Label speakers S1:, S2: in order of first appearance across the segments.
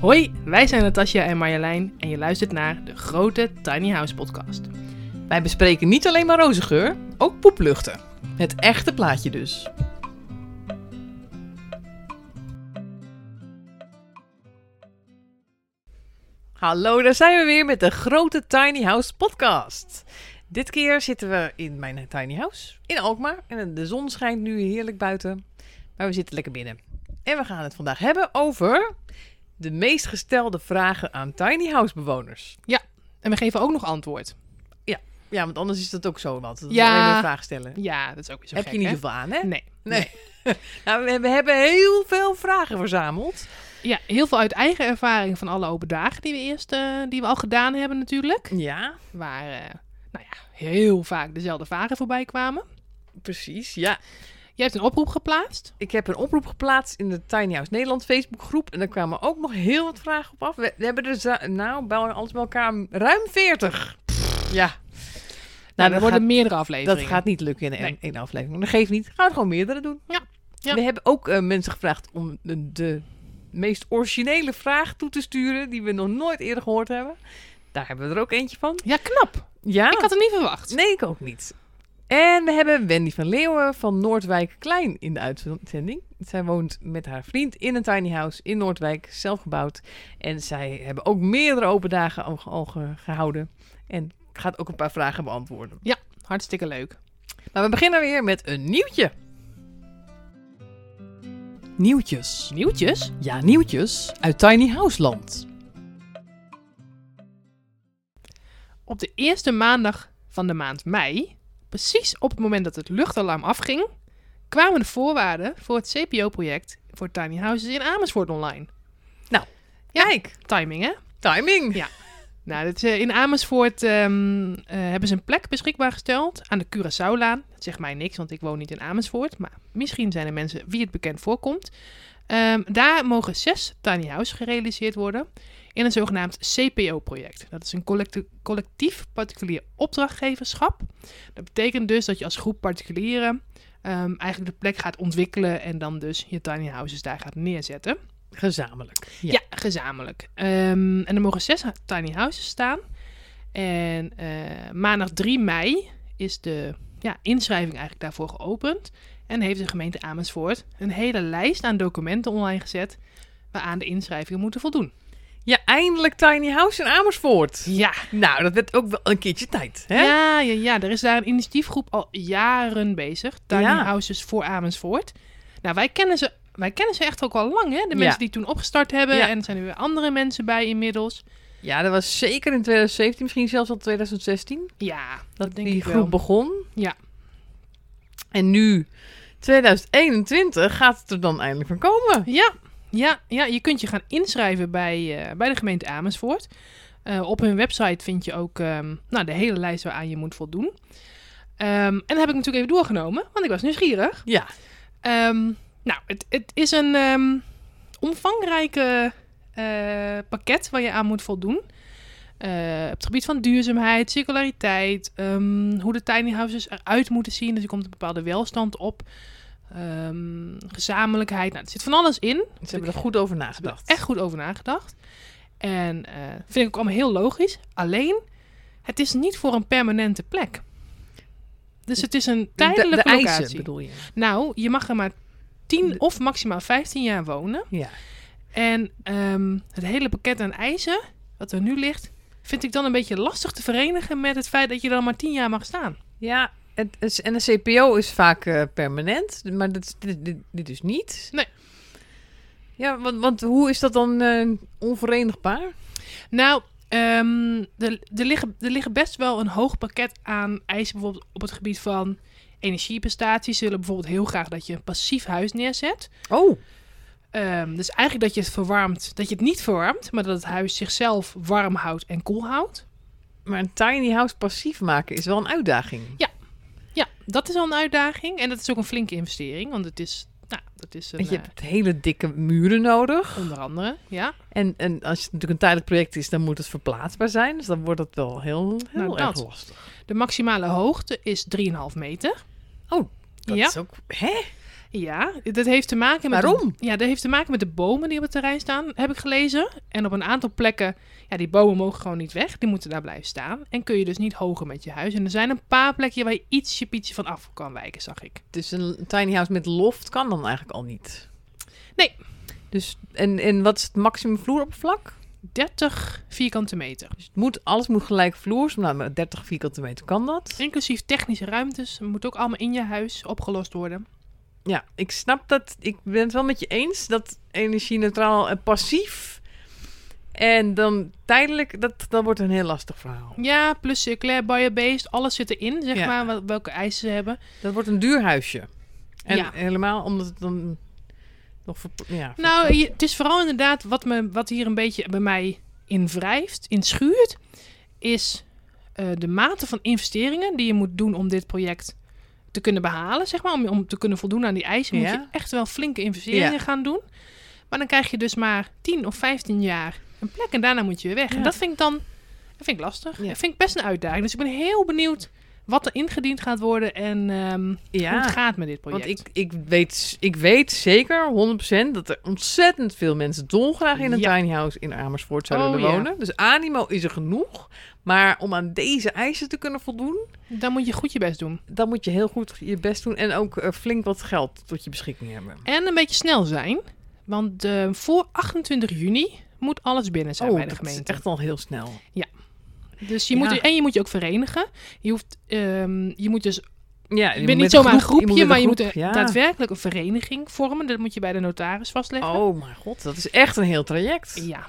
S1: Hoi, wij zijn Natasja en Marjolein en je luistert naar de grote Tiny House podcast.
S2: Wij bespreken niet alleen maar rozengeur, ook poepluchten. Het echte plaatje dus. Hallo, daar zijn we weer met de grote Tiny House podcast. Dit keer zitten we in mijn tiny house in Alkmaar en de zon schijnt nu heerlijk buiten, maar we zitten lekker binnen. En we gaan het vandaag hebben over de meest gestelde vragen aan tiny house bewoners.
S1: En we geven ook nog antwoord.
S2: Ja, want anders is dat ook zo wat. Dat
S1: Ja.
S2: ja. alleen maar vragen stellen.
S1: Ja, dat is ook weer zo
S2: Heb
S1: gek,
S2: je niet
S1: hè?
S2: zoveel aan, hè?
S1: Nee.
S2: Nee. Nou, we, we hebben heel veel vragen verzameld.
S1: Ja, heel veel uit eigen ervaring van alle open dagen die we eerst, eh, die we al gedaan hebben natuurlijk.
S2: Ja,
S1: Waar, eh, nou ja, heel vaak dezelfde vragen voorbij kwamen.
S2: precies. Ja.
S1: Jij hebt een oproep geplaatst. Nou,
S2: Ik heb een oproep geplaatst in de Tiny House Nederland Facebookgroep. En daar kwamen ook nog heel wat vragen op af. We, we hebben er za- nou, bij, alles bij elkaar ruim 40. Ja.
S1: Nou, er
S2: dat,
S1: worden
S2: gaat,
S1: meerdere
S2: dat
S1: afleveringen.
S2: gaat niet lukken in één
S1: Nee.
S2: één aflevering. Maar dat geeft niet. Gaan we gewoon meerdere doen.
S1: Ja. Ja.
S2: We hebben ook eh, mensen gevraagd om de, de meest originele vraag toe te sturen. Die we nog nooit eerder gehoord hebben. Daar hebben we er ook eentje van.
S1: Ja, knap.
S2: Ja.
S1: Ik had het niet verwacht.
S2: Ah. Nee, ik ook niet. En we hebben Wendy van Leeuwen van Noordwijk Klein in de uitzending. Zij woont met haar vriend in een tiny house in Noordwijk, zelf gebouwd. En zij hebben ook meerdere open dagen al, al ge- gehouden. En gaat ook een paar vragen beantwoorden.
S1: Hartstikke leuk.
S2: Maar we beginnen weer met een nieuwtje. Nieuwtjes.
S1: Nieuwtjes?
S2: Ja, nieuwtjes uit Tiny House Land.
S1: Op de eerste maandag van de maand mei, precies op het moment dat het luchtalarm afging, kwamen de voorwaarden voor het CPO-project voor tiny houses in Amersfoort online.
S2: Nou, Kijk,
S1: Timing, hè?
S2: timing.
S1: Nou, dit, eh, in Amersfoort ehm, eh, hebben ze een plek beschikbaar gesteld aan de Curaçaolaan. Dat zegt mij niks, want ik woon niet in Amersfoort. Maar misschien zijn er mensen wie het bekend voorkomt. Ehm, daar mogen zes tiny houses gerealiseerd worden in een zogenaamd CPO-project. Dat is een collect- collectief particulier opdrachtgeverschap. Dat betekent dus dat je als groep particulieren ehm, eigenlijk de plek gaat ontwikkelen en dan dus je tiny houses daar gaat neerzetten.
S2: Gezamenlijk.
S1: Ja, gezamenlijk. Ehm, en er mogen zes ha- tiny houses staan. En eh, maandag 3 mei is de ja, inschrijving eigenlijk daarvoor geopend. En heeft de gemeente Amersfoort een hele lijst aan documenten online gezet waaraan de inschrijvingen moeten voldoen.
S2: Ja, eindelijk Tiny House in Amersfoort.
S1: Ja,
S2: Nou, dat werd ook wel een keertje tijd, hè?
S1: ja, ja, ja. er is daar een initiatiefgroep al jaren bezig. Tiny
S2: Ja.
S1: Houses voor Amersfoort. Nou, wij kennen ze, wij kennen ze echt ook al lang, hè? De mensen
S2: Ja.
S1: die toen opgestart hebben.
S2: Ja.
S1: En er zijn er weer andere mensen bij inmiddels.
S2: Ja, dat was zeker in 2017, misschien zelfs al 2016.
S1: Ja, dat, denk
S2: die
S1: ik
S2: groep
S1: wel.
S2: begon.
S1: Ja.
S2: En nu, 2021, gaat het er dan eindelijk van komen.
S1: Ja, ja, ja, je kunt je gaan inschrijven bij, eh, bij de gemeente Amersfoort. Eh, op hun website vind je ook ehm, nou, de hele lijst waaraan je moet voldoen. Ehm, en dat heb ik natuurlijk even doorgenomen, want ik was nieuwsgierig.
S2: Ja,
S1: Ehm, nou, het, het is een ehm, omvangrijke eh, pakket waar je aan moet voldoen. Eh, op het gebied van duurzaamheid, circulariteit, ehm, hoe de tiny houses eruit moeten zien. Dus er komt een bepaalde welstand op. Ehm, gezamenlijkheid, nou, er zit van alles in.
S2: ze hebben er goed over nagedacht.
S1: Echt goed over nagedacht. En eh, vind ik ook allemaal heel logisch. Alleen, het is niet voor een permanente plek. Dus het is een tijdelijke
S2: de, de
S1: locatie.
S2: eisen, bedoel je?
S1: Nou, je mag er maar 10 of maximaal 15 jaar wonen.
S2: Ja.
S1: En ehm, het hele pakket aan eisen, wat er nu ligt, vind ik dan een beetje lastig te verenigen met het feit dat je dan maar 10 jaar mag staan.
S2: Ja, het, is- en een CPO is vaak eh, permanent, maar dit, dit, dit, dit is niet.
S1: Nee.
S2: Ja, want, want hoe is dat dan eh, onverenigbaar?
S1: Nou, ehm, er, er, liggen, er liggen best wel een hoog pakket aan eisen, bijvoorbeeld op het gebied van energieprestaties. Ze willen bijvoorbeeld heel graag dat je een passief huis neerzet.
S2: Oh,
S1: Ehm, dus eigenlijk dat je het verwarmt, dat je het niet verwarmt, maar dat het huis zichzelf warm houdt en koel houdt.
S2: maar een tiny house passief maken is wel een uitdaging.
S1: Ja, dat is al een uitdaging en dat is ook een flinke investering, want het is, nou, dat is een,
S2: Want je
S1: eh,
S2: hebt hele dikke muren nodig.
S1: onder andere, ja.
S2: En, en als het natuurlijk een tijdelijk project is, dan moet het verplaatsbaar zijn. Dus dan wordt het wel heel, heel
S1: Nou,
S2: erg
S1: dat.
S2: lastig.
S1: De maximale hoogte is 3,5 meter.
S2: Dat
S1: ja.
S2: is ook... Hè?
S1: Ja, dat heeft te maken met...
S2: Waarom?
S1: ja, dat heeft te maken met de bomen die op het terrein staan, heb ik gelezen. En op een aantal plekken, ja, die bomen mogen gewoon niet weg. Die moeten daar blijven staan. En kun je dus niet hoger met je huis. En er zijn een paar plekken waar je ietsje pietje van af kan wijken, zag ik.
S2: Dus een tiny house met loft kan dan eigenlijk al niet.
S1: Nee.
S2: Dus, en, en wat is het maximum vloeroppervlak?
S1: 30 vierkante meter.
S2: Dus het moet, alles moet gelijk vloers. Nou, met 30 vierkante meter kan dat.
S1: Inclusief technische ruimtes. Het moet ook allemaal in je huis opgelost worden.
S2: Ja, ik snap dat. Ik ben het wel met je eens dat energie-neutraal en passief. En dan tijdelijk, dat, dat wordt een heel lastig verhaal.
S1: Ja, plus circulair, bio-based, alles zit erin, zeg
S2: Ja.
S1: maar, wel- welke eisen ze hebben.
S2: Dat wordt een duur huisje. En
S1: Ja.
S2: helemaal omdat het dan nog... verp- Ja,
S1: Nou, je- het is vooral inderdaad wat, me, wat hier een beetje bij mij in wrijft, in schuurt, is eh, de mate van investeringen die je moet doen om dit project te kunnen behalen, zeg maar, om, om te kunnen voldoen aan die eisen, moet
S2: Ja.
S1: je echt wel flinke investeringen
S2: Ja.
S1: gaan doen. Maar dan krijg je dus maar 10 of 15 jaar een plek en daarna moet je weer weg.
S2: Ja.
S1: En dat vind ik dan dat vind ik lastig.
S2: Ja.
S1: Dat vind ik best een uitdaging. Dus ik ben heel benieuwd wat er ingediend gaat worden en ehm,
S2: ja.
S1: hoe het gaat met dit project.
S2: Want ik, ik, weet, ik weet zeker 100% dat er ontzettend veel mensen dolgraag in een
S1: Ja.
S2: tiny house in Amersfoort zouden
S1: Oh,
S2: willen
S1: ja.
S2: wonen. Dus animo is er genoeg. Maar om aan deze eisen te kunnen voldoen,
S1: Dan moet je goed je best doen.
S2: dan moet je heel goed je best doen. En ook eh, flink wat geld tot je beschikking hebben.
S1: En een beetje snel zijn. Want eh, voor 28 juni moet alles binnen zijn bij de
S2: Oh, dat is
S1: gemeente.
S2: echt al heel snel.
S1: Dus je
S2: Ja.
S1: moet, en je moet je ook verenigen. Je, hoeft, ehm, je moet dus
S2: Ja,
S1: je bent niet zomaar een groepje, maar je moet
S2: er
S1: een- daadwerkelijk een vereniging vormen. Dat moet je bij de notaris vastleggen.
S2: Oh mijn god, dat is echt een heel traject.
S1: Ja,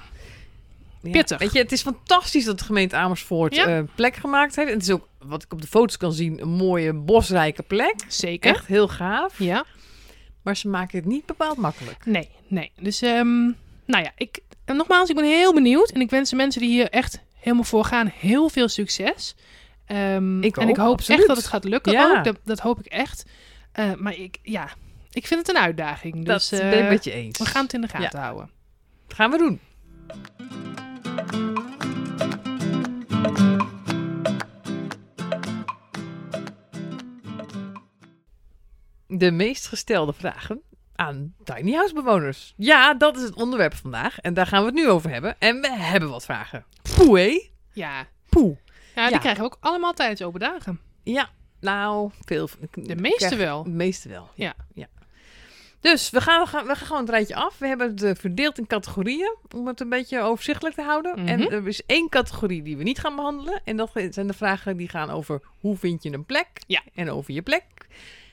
S2: Ja,
S1: Pittig.
S2: Weet je, het is fantastisch dat de gemeente Amersfoort
S1: Ja.
S2: eh, plek gemaakt heeft. En het is ook, wat ik op de foto's kan zien, een mooie bosrijke plek.
S1: zeker.
S2: Echt heel gaaf.
S1: Ja,
S2: Maar ze maken het niet bepaald makkelijk.
S1: nee, nee. Dus, ehm, nou ja, ik, en nogmaals, ik ben heel benieuwd. En ik wens de mensen die hier echt helemaal voor gaan heel veel succes. Ehm,
S2: Ik
S1: en ik
S2: ook,
S1: hoop
S2: absoluut.
S1: echt dat het gaat lukken
S2: Ja.
S1: ook. Dat, dat hoop ik echt. Eh, maar ik, ja, ik vind het een uitdaging. Dus,
S2: dat
S1: eh,
S2: ben ik met je eens.
S1: We gaan het in de gaten houden.
S2: Dat gaan we doen. De meest gestelde vragen aan tiny house bewoners. Ja, dat is het onderwerp vandaag. En daar gaan we het nu over hebben. En we hebben wat vragen. Poeh, hé.
S1: Ja.
S2: Poeh.
S1: ja, die
S2: Ja.
S1: krijgen we ook allemaal tijdens open dagen.
S2: Ja, nou, veel.
S1: De meeste wel.
S2: De meeste wel.
S1: Ja.
S2: ja. Dus we gaan, we, gaan, we gaan gewoon het rijtje af. We hebben het eh, verdeeld in categorieën om het een beetje overzichtelijk te houden.
S1: Mhm.
S2: En er is één categorie die we niet gaan behandelen. En dat zijn de vragen die gaan over hoe vind je een plek
S1: Ja.
S2: en over je plek.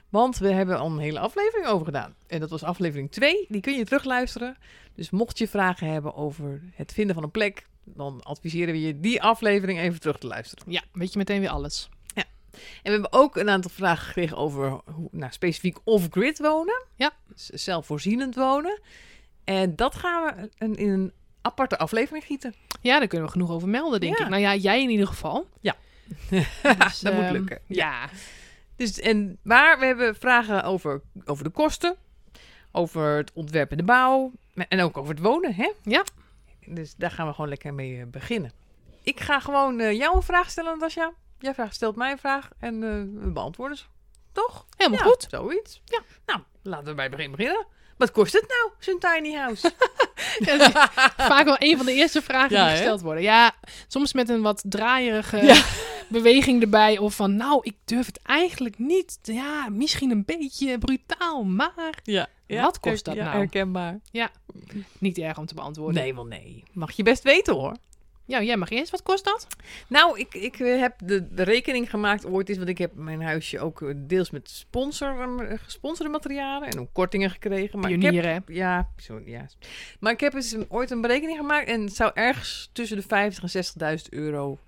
S2: Want we hebben al een hele aflevering over gedaan. En dat was aflevering 2. Die kun je terugluisteren. Dus mocht je vragen hebben over het vinden van een plek, dan adviseren we je die aflevering even terug te luisteren.
S1: Ja, weet je meteen weer alles.
S2: En we hebben ook een aantal vragen gekregen over hoe, nou, specifiek off-grid wonen.
S1: Ja.
S2: Dus zelfvoorzienend wonen. En dat gaan we een- in een aparte aflevering gieten.
S1: Ja, daar kunnen we genoeg over melden, denk
S2: Ja.
S1: ik. Nou ja, jij in ieder geval.
S2: Ja.
S1: Dus,
S2: Dat moet
S1: ehm,
S2: lukken.
S1: Ja.
S2: Dus, en, maar we hebben vragen over, over de kosten, over het ontwerp en de bouw. En ook over het wonen, hè?
S1: Ja.
S2: Dus daar gaan we gewoon lekker mee eh, beginnen. Ik ga gewoon eh, jou een vraag stellen, Natasja. Jij vraagt, stelt mij een vraag en eh, we beantwoorden ze. Toch?
S1: Helemaal
S2: Ja,
S1: goed.
S2: Zoiets.
S1: Ja.
S2: Nou, laten we bij het begin beginnen. Wat kost het nou, zo'n tiny house?
S1: Ja, dat is vaak wel een van de eerste vragen
S2: Ja,
S1: die
S2: hè?
S1: gesteld worden. Ja, soms met een wat draaierige
S2: Ja.
S1: beweging erbij. Of van, nou, ik durf het eigenlijk niet. Ja, misschien een beetje brutaal, maar
S2: ja.
S1: Wat kost dat nou?
S2: herkenbaar.
S1: niet erg om te beantwoorden.
S2: Nee, wel nee. Mag je best weten, hoor.
S1: Ja, jij mag eerst. Wat kost dat?
S2: Nou, ik, ik eh, heb de, de rekening gemaakt ooit eens, want ik heb mijn huisje ook eh, deels met sponsor, eh, gesponsorde materialen en ook kortingen gekregen. Maar ik heb,
S1: Pionieren, hè?
S2: ja, zo, ja. Maar ik heb eens een- ooit een berekening gemaakt en het zou ergens tussen de 50 en 60.000 euro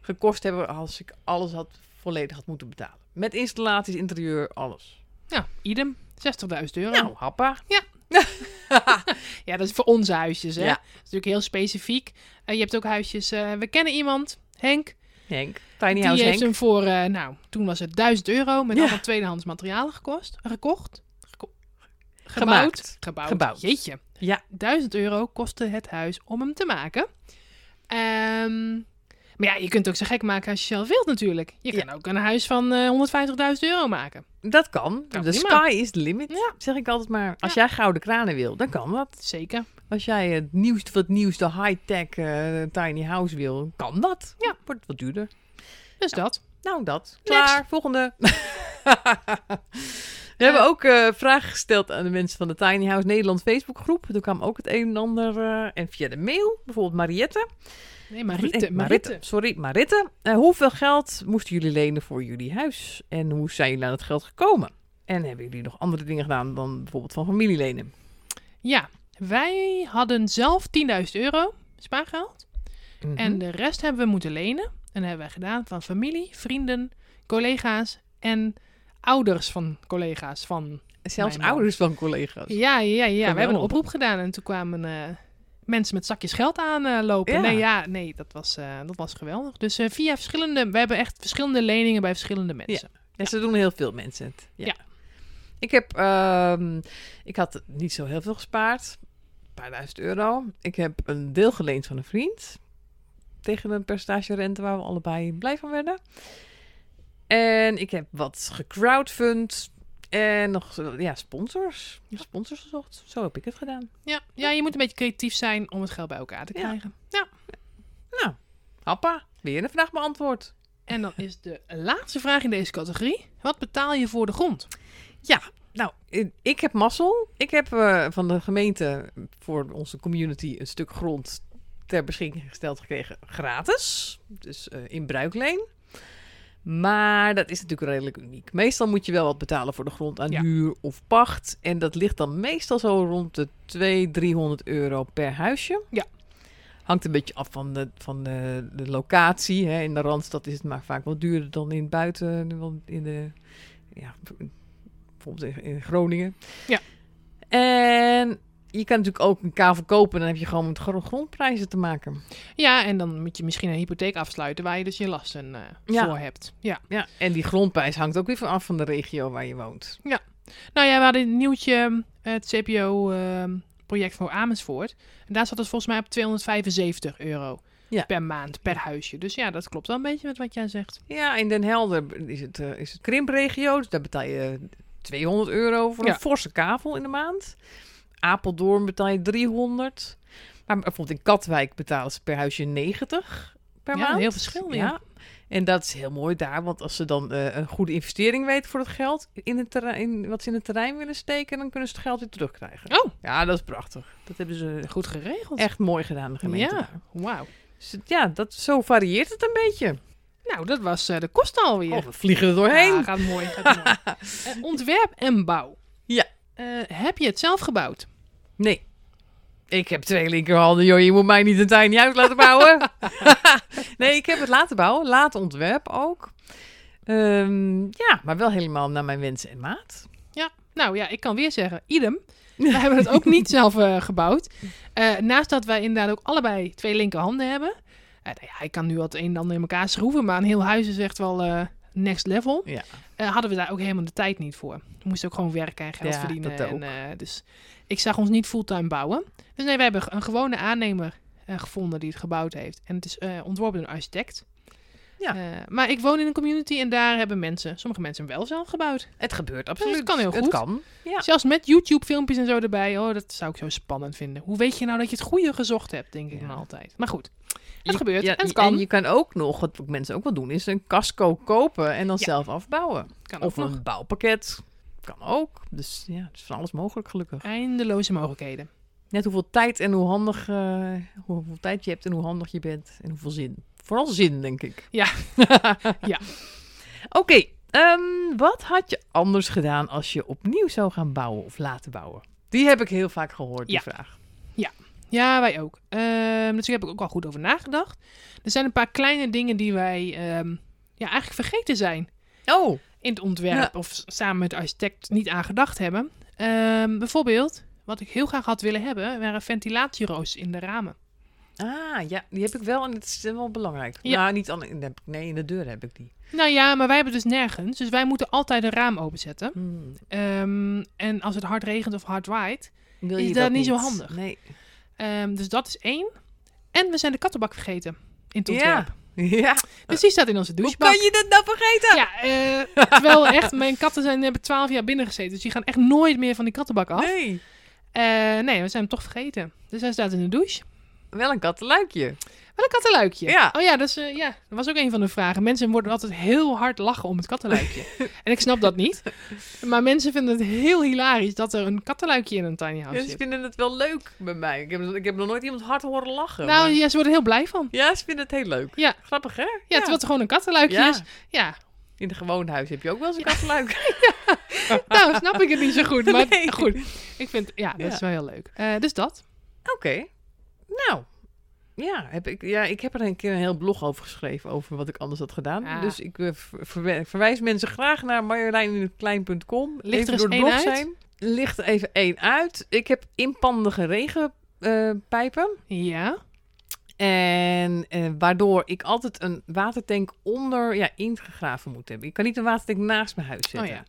S2: gekost hebben als ik alles had volledig had moeten betalen. Met installaties, interieur, alles.
S1: Ja, idem. 60.000 euro.
S2: Nou, happa.
S1: Ja, dat is voor onze huisjes, hè?
S2: Ja.
S1: Dat is natuurlijk heel specifiek. Eh, je hebt ook huisjes... eh, we kennen iemand, Henk.
S2: Henk, tiny
S1: die
S2: house
S1: heeft
S2: Henk.
S1: hem voor, eh, nou, toen was het 1000 euro... met
S2: Ja.
S1: allemaal tweedehands materialen gekost, gekocht. geko-
S2: Gemaakt.
S1: Gebouwd.
S2: Gebouwd.
S1: Jeetje.
S2: Ja.
S1: 1000 euro kostte het huis om hem te maken. Ehm, Maar ja, je kunt het ook zo gek maken als je zelf wilt natuurlijk. Je kan ook een huis van eh 150.000 euro maken.
S2: Dat kan.
S1: Nou,
S2: de
S1: prima.
S2: sky is the limit,
S1: Ja.
S2: zeg ik altijd maar. Als jij gouden kranen wil, dan kan dat.
S1: Zeker.
S2: Als jij het nieuwste van het nieuwste high-tech eh, tiny house wil, kan dat.
S1: Ja.
S2: Wordt wat duurder.
S1: Dus dat.
S2: Nou, dat.
S1: Next.
S2: Klaar. Volgende. We hebben ook eh, vragen gesteld aan de mensen van de Tiny House Nederland Facebookgroep. Toen kwam ook het een en ander. eh, en via de mail, bijvoorbeeld Mariette.
S1: Nee, Mariette.
S2: Eh,
S1: Mariette.
S2: Sorry, Mariette. Eh, hoeveel geld moesten jullie lenen voor jullie huis? En hoe zijn jullie aan het geld gekomen? En hebben jullie nog andere dingen gedaan dan bijvoorbeeld van familie lenen?
S1: Ja, wij hadden zelf 10.000 euro spaargeld.
S2: Mhm.
S1: En de rest hebben we moeten lenen. En dat hebben wij gedaan van familie, vrienden, collega's en ouders van collega's van.
S2: Zelfs
S1: mijn man.
S2: ouders van collega's.
S1: Ja, ja, ja. We hebben een
S2: Geweldig.
S1: oproep gedaan en toen kwamen eh, mensen met zakjes geld aanlopen. lopen.
S2: Ja.
S1: Nee, ja, nee, dat was, eh, dat was geweldig. Dus eh, via verschillende, we hebben echt verschillende leningen bij verschillende mensen.
S2: Ja, ze doen heel veel mensen het. Ja.
S1: Ja.
S2: Ik heb, ehm, ik had niet zo heel veel gespaard. Een paar duizend euro. Ik heb een deel geleend van een vriend. Tegen een percentage rente waar we allebei blij van werden. En ik heb wat gecrowdfund. En nog, eh, ja, sponsors. Sponsors gezocht. Zo heb ik het gedaan.
S1: Ja. Ja. je moet een beetje creatief zijn om het geld bij elkaar te
S2: Ja.
S1: krijgen.
S2: Happa, weer een vraag beantwoord.
S1: En dan is de laatste vraag in deze categorie. Wat betaal je voor de grond?
S2: Nou, i- ik heb mazzel. Ik heb eh, van de gemeente voor onze community een stuk grond ter beschikking gesteld gekregen, gratis. Dus eh, in bruikleen. Maar dat is natuurlijk redelijk uniek. Meestal moet je wel wat betalen voor de grond aan
S1: Ja.
S2: huur of pacht. En dat ligt dan meestal zo rond de 200, 300 euro per huisje.
S1: Ja.
S2: Hangt een beetje af van de, van de, de locatie. Hè. In de Randstad is het maar vaak wat duurder dan in het buiten. Want in de, ja, bijvoorbeeld in, in Groningen.
S1: Ja.
S2: En je kan natuurlijk ook een kavel kopen. En dan heb je gewoon met gro- grondprijzen te maken.
S1: Ja, en dan moet je misschien een hypotheek afsluiten waar je dus je lasten eh,
S2: Ja.
S1: voor hebt. Ja.
S2: Ja. En die grondprijs hangt ook weer van af van de regio waar je woont.
S1: Nou ja, we hadden een nieuwtje, eh, het CPO-project ehm, voor Amersfoort. En daar zat het volgens mij op 275 euro
S2: Ja.
S1: per maand, per huisje. Dus ja, dat klopt wel een beetje met wat jij zegt.
S2: Ja, in Den Helder is het, eh, is het krimpregio. Dus daar betaal je 200 euro voor
S1: Ja.
S2: een forse kavel in de maand. Apeldoorn betaal je 300. Maar bijvoorbeeld in Katwijk betalen ze per huisje 90 per
S1: Ja,
S2: maand.
S1: heel verschil, ja.
S2: En dat is heel mooi daar, want als ze dan eh, een goede investering weten voor het geld, in het terrein, wat ze in het terrein willen steken, dan kunnen ze het geld weer terugkrijgen.
S1: Oh,
S2: Ja, dat is prachtig. Dat hebben ze
S1: goed geregeld.
S2: echt mooi gedaan, de gemeente.
S1: Ja,
S2: daar.
S1: wauw.
S2: Dus het- ja, dat, zo varieert het een beetje.
S1: Nou, dat was eh, de kosten alweer.
S2: Oh, we vliegen er
S1: Ja,
S2: doorheen.
S1: gaat mooi. Gaat mooi. Eh, ontwerp en bouw.
S2: Ja.
S1: Eh, heb je het zelf gebouwd?
S2: Nee. Ik heb twee linkerhanden, joh. Je moet mij niet een tiny house laten bouwen. nee, ik heb het laten bouwen. Laat ontwerp ook. Ehm, ja, maar wel helemaal naar mijn wensen en maat.
S1: Nou ja, ik kan weer zeggen, idem. We hebben het ook niet zelf eh, gebouwd. Eh, naast dat wij inderdaad ook allebei twee linkerhanden hebben. Eh, nou ja, ik kan nu wat een en ander in elkaar schroeven, maar een heel huis is echt wel eh, next level.
S2: Ja.
S1: Eh, hadden we daar ook helemaal de tijd niet voor. We moesten ook gewoon werken en geld
S2: Ja,
S1: verdienen.
S2: dat ook.
S1: En, eh, dus ik zag ons niet fulltime bouwen. Dus nee, we hebben een gewone aannemer eh, gevonden die het gebouwd heeft. En het is eh, ontworpen door een architect.
S2: Ja.
S1: Eh, maar ik woon in een community en daar hebben mensen, sommige mensen wel zelf gebouwd.
S2: Het gebeurt absoluut.
S1: het kan heel
S2: Het
S1: goed.
S2: kan. Ja.
S1: Zelfs met YouTube-filmpjes en zo erbij. Oh, dat zou ik zo spannend vinden. Hoe weet je nou dat je het goede gezocht hebt, denk ik
S2: Ja.
S1: dan altijd. Maar goed, het
S2: Je-
S1: gebeurt
S2: ja,
S1: en het kan.
S2: En je kan ook nog, wat mensen ook wel doen, is een casco kopen en dan
S1: Ja.
S2: zelf afbouwen.
S1: kan
S2: Of
S1: ook nog.
S2: een bouwpakket. Kan ook. Dus ja, het is van alles mogelijk gelukkig.
S1: Eindeloze mogelijkheden.
S2: Net hoeveel tijd en hoe handig, eh, hoe- hoeveel tijd je hebt en hoe handig je bent. En hoeveel zin. Vooral zin, denk ik.
S1: Ja. Ja.
S2: Oké, ehm, wat had je anders gedaan als je opnieuw zou gaan bouwen of laten bouwen? Die heb ik heel vaak gehoord, die
S1: Ja.
S2: vraag.
S1: Ja, wij ook. Ehm dus daar heb ik ook al goed over nagedacht. Er zijn een paar kleine dingen die wij ehm, ja, eigenlijk vergeten zijn
S2: Oh,
S1: in het ontwerp. Of s- samen met de architect niet aan gedacht hebben. Ehm, bijvoorbeeld, wat ik heel graag had willen hebben, waren ventilatieroos in de ramen.
S2: ah, ja, die heb ik wel en dat is wel belangrijk.
S1: Ja.
S2: Nou, niet aan, in de- nee, in de deur heb ik die.
S1: Nou ja, maar wij hebben dus nergens. Dus wij moeten altijd een raam openzetten.
S2: Hmm,
S1: Ehm, en als het hard regent of hard waait.
S2: Wil
S1: Is
S2: je
S1: dat niet zo handig?
S2: Nee.
S1: Ehm, dus dat is één. En we zijn de kattenbak vergeten in het
S2: Ja.
S1: ontwerp.
S2: Ja.
S1: Dus die staat in onze
S2: Hoe
S1: douchebak.
S2: kan je dat nou vergeten?
S1: Ja, eh, terwijl echt, mijn katten zijn, hebben 12 jaar binnen gezeten. Dus die gaan echt nooit meer van die kattenbak af.
S2: Nee.
S1: Eh, nee, we zijn hem toch vergeten. Dus hij staat in de douche.
S2: Wel een kattenluikje.
S1: Wel een kattenluikje.
S2: Ja.
S1: Oh ja dat, is, eh, ja, dat was ook een van de vragen. Mensen worden altijd heel hard lachen om het kattenluikje. en ik snap dat niet. Maar mensen vinden het heel hilarisch dat er een kattenluikje in een tiny house
S2: Ja, ze
S1: zit.
S2: vinden het wel leuk bij mij. Ik heb, ik heb nog nooit iemand hard horen lachen.
S1: Nou,
S2: maar-
S1: ja, ze worden heel blij van.
S2: Ja, ze vinden het heel leuk.
S1: Ja.
S2: Grappig, hè?
S1: Ja, terwijl het gewoon een kattenluikje
S2: Ja.
S1: is. Ja,
S2: In een gewoon huis heb je ook wel eens een kattenluik.
S1: nou snap ik het niet zo goed. Maar
S2: Nee.
S1: goed, ik vind, ja, dat
S2: Ja.
S1: is wel heel leuk. Eh, dus dat.
S2: Oké. Nou. Ja heb, ik, ja, ik heb er een keer een heel blog over geschreven, over wat ik anders had gedaan.
S1: Ah.
S2: Dus ik eh, ver- verwe- verwijs mensen graag naar marjoleininhetklein.com.
S1: Ligt er eens
S2: door de
S1: één
S2: blog
S1: uit?
S2: zijn. Ligt er even één uit. Ik heb inpandige regenpijpen.
S1: Ja.
S2: En eh, waardoor ik altijd een watertank onder, ja, ingegraven moet hebben. Ik kan niet een watertank naast mijn huis zetten.
S1: Oh ja.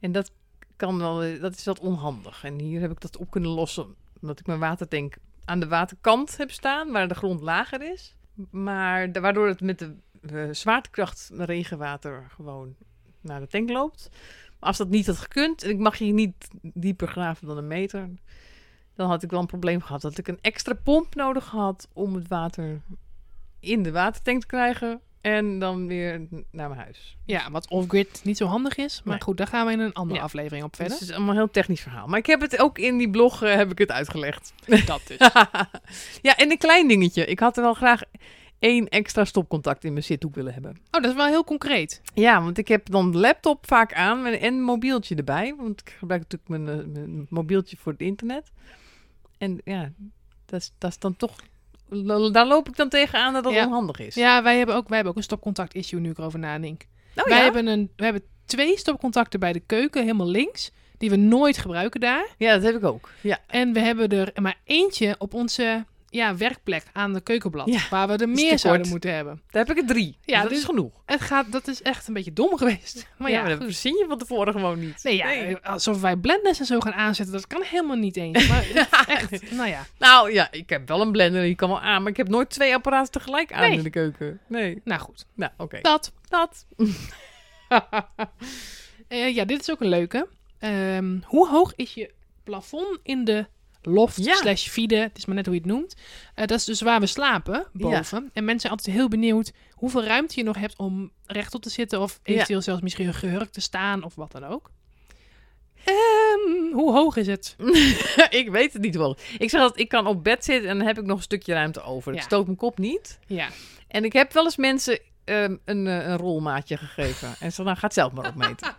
S2: En dat kan wel, eh, dat is wat onhandig. En hier heb ik dat op kunnen lossen. Omdat ik mijn watertank aan de waterkant heb staan, waar de grond lager is. Maar da- waardoor het met de eh, zwaartekracht regenwater gewoon naar de tank loopt. Maar als dat niet had gekund, en ik mag hier niet dieper graven dan een meter, dan had ik wel een probleem gehad. Dat ik een extra pomp nodig had om het water in de watertank te krijgen en dan weer naar mijn huis.
S1: Ja, wat off-grid niet zo handig is. Maar
S2: Nee.
S1: goed, daar gaan we in een andere
S2: Ja.
S1: aflevering op
S2: Dus
S1: verder.
S2: het is allemaal een heel technisch verhaal. Maar ik heb het ook in die blog eh, heb ik het uitgelegd.
S1: dat dus.
S2: ja, en een klein dingetje. Ik had er wel graag één extra stopcontact in mijn zithoek willen hebben.
S1: Oh, dat is wel heel concreet.
S2: Ja, want ik heb dan de laptop vaak aan en- en mobieltje erbij. Want ik gebruik natuurlijk mijn, eh, mijn mobieltje voor het internet. En ja, dat is, dat is dan toch... Daar loop ik dan tegenaan dat dat
S1: Ja.
S2: onhandig is.
S1: Ja, wij hebben ook, wij hebben ook een stopcontact-issue nu ik erover nadenk.
S2: Oh,
S1: wij
S2: ja?
S1: hebben een, we hebben twee stopcontacten bij de keuken, helemaal links, die we nooit gebruiken daar.
S2: ja, dat heb ik ook. Ja.
S1: En we hebben er maar eentje op onze ja, werkplek aan de keukenblad,
S2: Ja,
S1: waar we er
S2: is te
S1: meer
S2: kort.
S1: zouden moeten hebben.
S2: Daar heb ik er drie.
S1: Ja,
S2: Ja, dat
S1: dus-
S2: is genoeg.
S1: Het gaat, dat is echt een beetje dom geweest. Maar ja,
S2: maar
S1: goed.
S2: dat zie je van tevoren gewoon niet.
S1: Nee, ja, eh, alsof wij blenders en zo gaan aanzetten, dat kan helemaal niet eens. Maar echt, nou ja.
S2: Nou ja, ik heb wel een blender, die kan wel aan. Maar ik heb nooit twee apparaten tegelijk aan
S1: Nee.
S2: in de keuken. Nee.
S1: Nou goed,
S2: Nou, oké.
S1: dat.
S2: Dat.
S1: Eh, ja, dit is ook een leuke. Ehm, hoe hoog is je plafond in de loft
S2: Ja.
S1: slash fide? Het is maar net hoe je het noemt. Eh, dat is dus waar we slapen, boven. En mensen zijn altijd heel benieuwd hoeveel ruimte je nog hebt om rechtop te zitten... of eventueel zelfs misschien gehurkt te staan of wat dan ook. Ehm, hoe hoog is het?
S2: Mm. ik weet het niet wel. Ik zeg dat ik kan op bed zitten en dan heb ik nog een stukje ruimte over. Ik
S1: Ja.
S2: stoot mijn kop niet.
S1: Ja,
S2: En ik heb wel eens mensen ehm, een, eh, een rolmaatje gegeven. En ze nou, gaat zelf maar opmeten.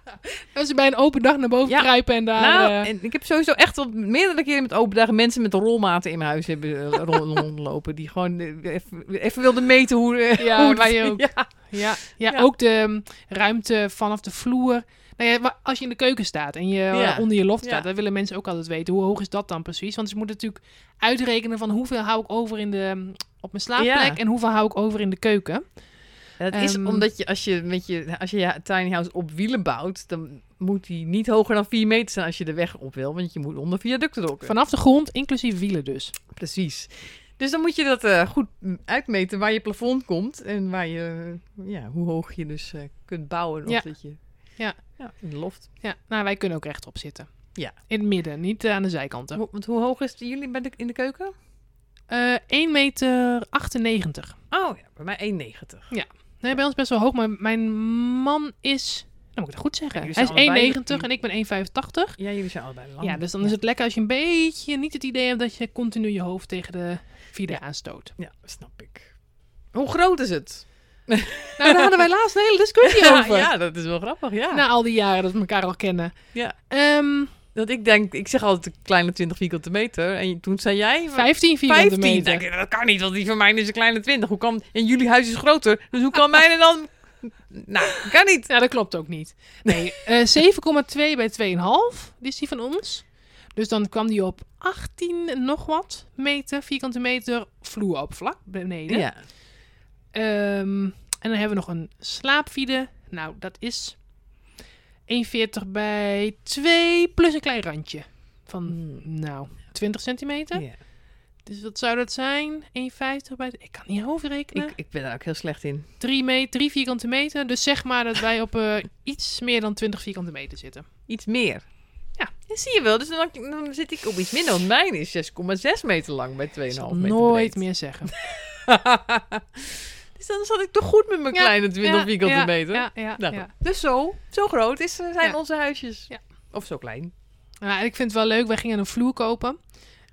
S1: als ze bij een open dag naar boven
S2: Ja.
S1: kruipen en daar...
S2: nou,
S1: eh,
S2: en ik heb sowieso echt al meerdere keren met open dagen mensen met rolmaten in mijn huis hebben eh, rond- rondlopen. Die gewoon eh, even, even wilden meten hoe... eh,
S1: Ja,
S2: hoe het-
S1: wij ook.
S2: Ja.
S1: Ja, ja,
S2: Ja.
S1: ook de ehm, ruimte vanaf de vloer. Nou ja, wa- als je in de keuken staat en je eh,
S2: Ja.
S1: onder je loft
S2: Ja.
S1: staat, dan willen mensen ook altijd weten hoe hoog is dat dan precies. Want ze moeten natuurlijk uitrekenen van hoeveel hou ik over in de, ehm, op mijn slaapplek
S2: Ja.
S1: en hoeveel hou ik over in de keuken.
S2: Ja, Dat is
S1: Ehm,
S2: omdat je als je, met je, als je je tiny house op wielen bouwt, dan moet die niet hoger dan 4 meter zijn als je de weg op wil. Want je moet onder viaducten door kunnen.
S1: Vanaf de grond, inclusief wielen dus.
S2: Precies. Dus dan moet je dat eh, goed mm, uitmeten waar je plafond komt en waar je, eh, ja, hoe hoog je dus eh, kunt bouwen. Of
S1: Ja.
S2: dat je
S1: Ja.
S2: in de loft.
S1: Ja, nou wij kunnen ook rechtop zitten.
S2: Ja.
S1: In het midden, niet eh, aan de zijkanten.
S2: Ho- want hoe hoog is het bij jullie bij de, in de keuken?
S1: Eh 1,98 meter. 98.
S2: Oh ja, bij mij 1,90.
S1: Nee, bij ons best wel hoog, maar mijn man is, nou moet ik het goed zeggen,
S2: jullie
S1: hij
S2: zijn allebei-
S1: is 1,90 en ik ben 1,85.
S2: Ja, jullie zijn allebei lang.
S1: Ja, dus dan is het lekker als je een beetje niet het idee hebt dat je continu je hoofd tegen de vierde
S2: Ja.
S1: aanstoot.
S2: Ja, snap ik. Hoe groot is het?
S1: Nou, daar hadden wij laatst een hele discussie over.
S2: ja, Nou. dat is wel grappig, ja.
S1: Na al die jaren dat we elkaar al kennen.
S2: ja.
S1: Ehm,
S2: Dat ik denk, ik zeg altijd een kleine 20 vierkante meter. En toen zei jij...
S1: 15 vierkante meter.
S2: Denk ik, Nou, dat kan niet, want die van mij is een kleine 20. Hoe kan... En jullie huis is groter, dus hoe kan mijne dan... Nou, kan niet.
S1: Ja, dat klopt ook niet. Nee, eh 7,2 bij 2,5, die is die van ons. Dus dan kwam die op 18 en nog wat meter, vierkante meter vloeroppervlak beneden.
S2: Ja.
S1: Ehm, en dan hebben we nog een slaapvide. Nou, dat is 1,40 bij 2 plus een klein randje. Van,
S2: Hmm.
S1: nou, 20 centimeter.
S2: Ja.
S1: Dus wat zou dat zijn? 1,50 bij... de- Ik kan niet hoofdrekenen.
S2: Ik, ik ben daar ook heel slecht in.
S1: 3 me- drie vierkante meter. Dus zeg maar dat wij op eh, iets meer dan 20 vierkante meter zitten.
S2: Iets meer.
S1: Ja.
S2: Dat zie je wel. Dus dan, dan zit ik op iets minder. Want mijn is 6,6 meter lang bij 2,5
S1: Ik
S2: meter
S1: zal nooit
S2: breed.
S1: meer zeggen.
S2: dus dan zat ik toch goed met mijn
S1: Ja,
S2: kleine 20
S1: Ja,
S2: vierkante
S1: ja,
S2: meter.
S1: Ja, ja,
S2: Nou,
S1: ja.
S2: Dus zo, zo groot is, zijn
S1: Ja.
S2: onze huisjes.
S1: Ja.
S2: Of zo klein.
S1: Ja, en ik vind het wel leuk. Wij gingen een vloer kopen.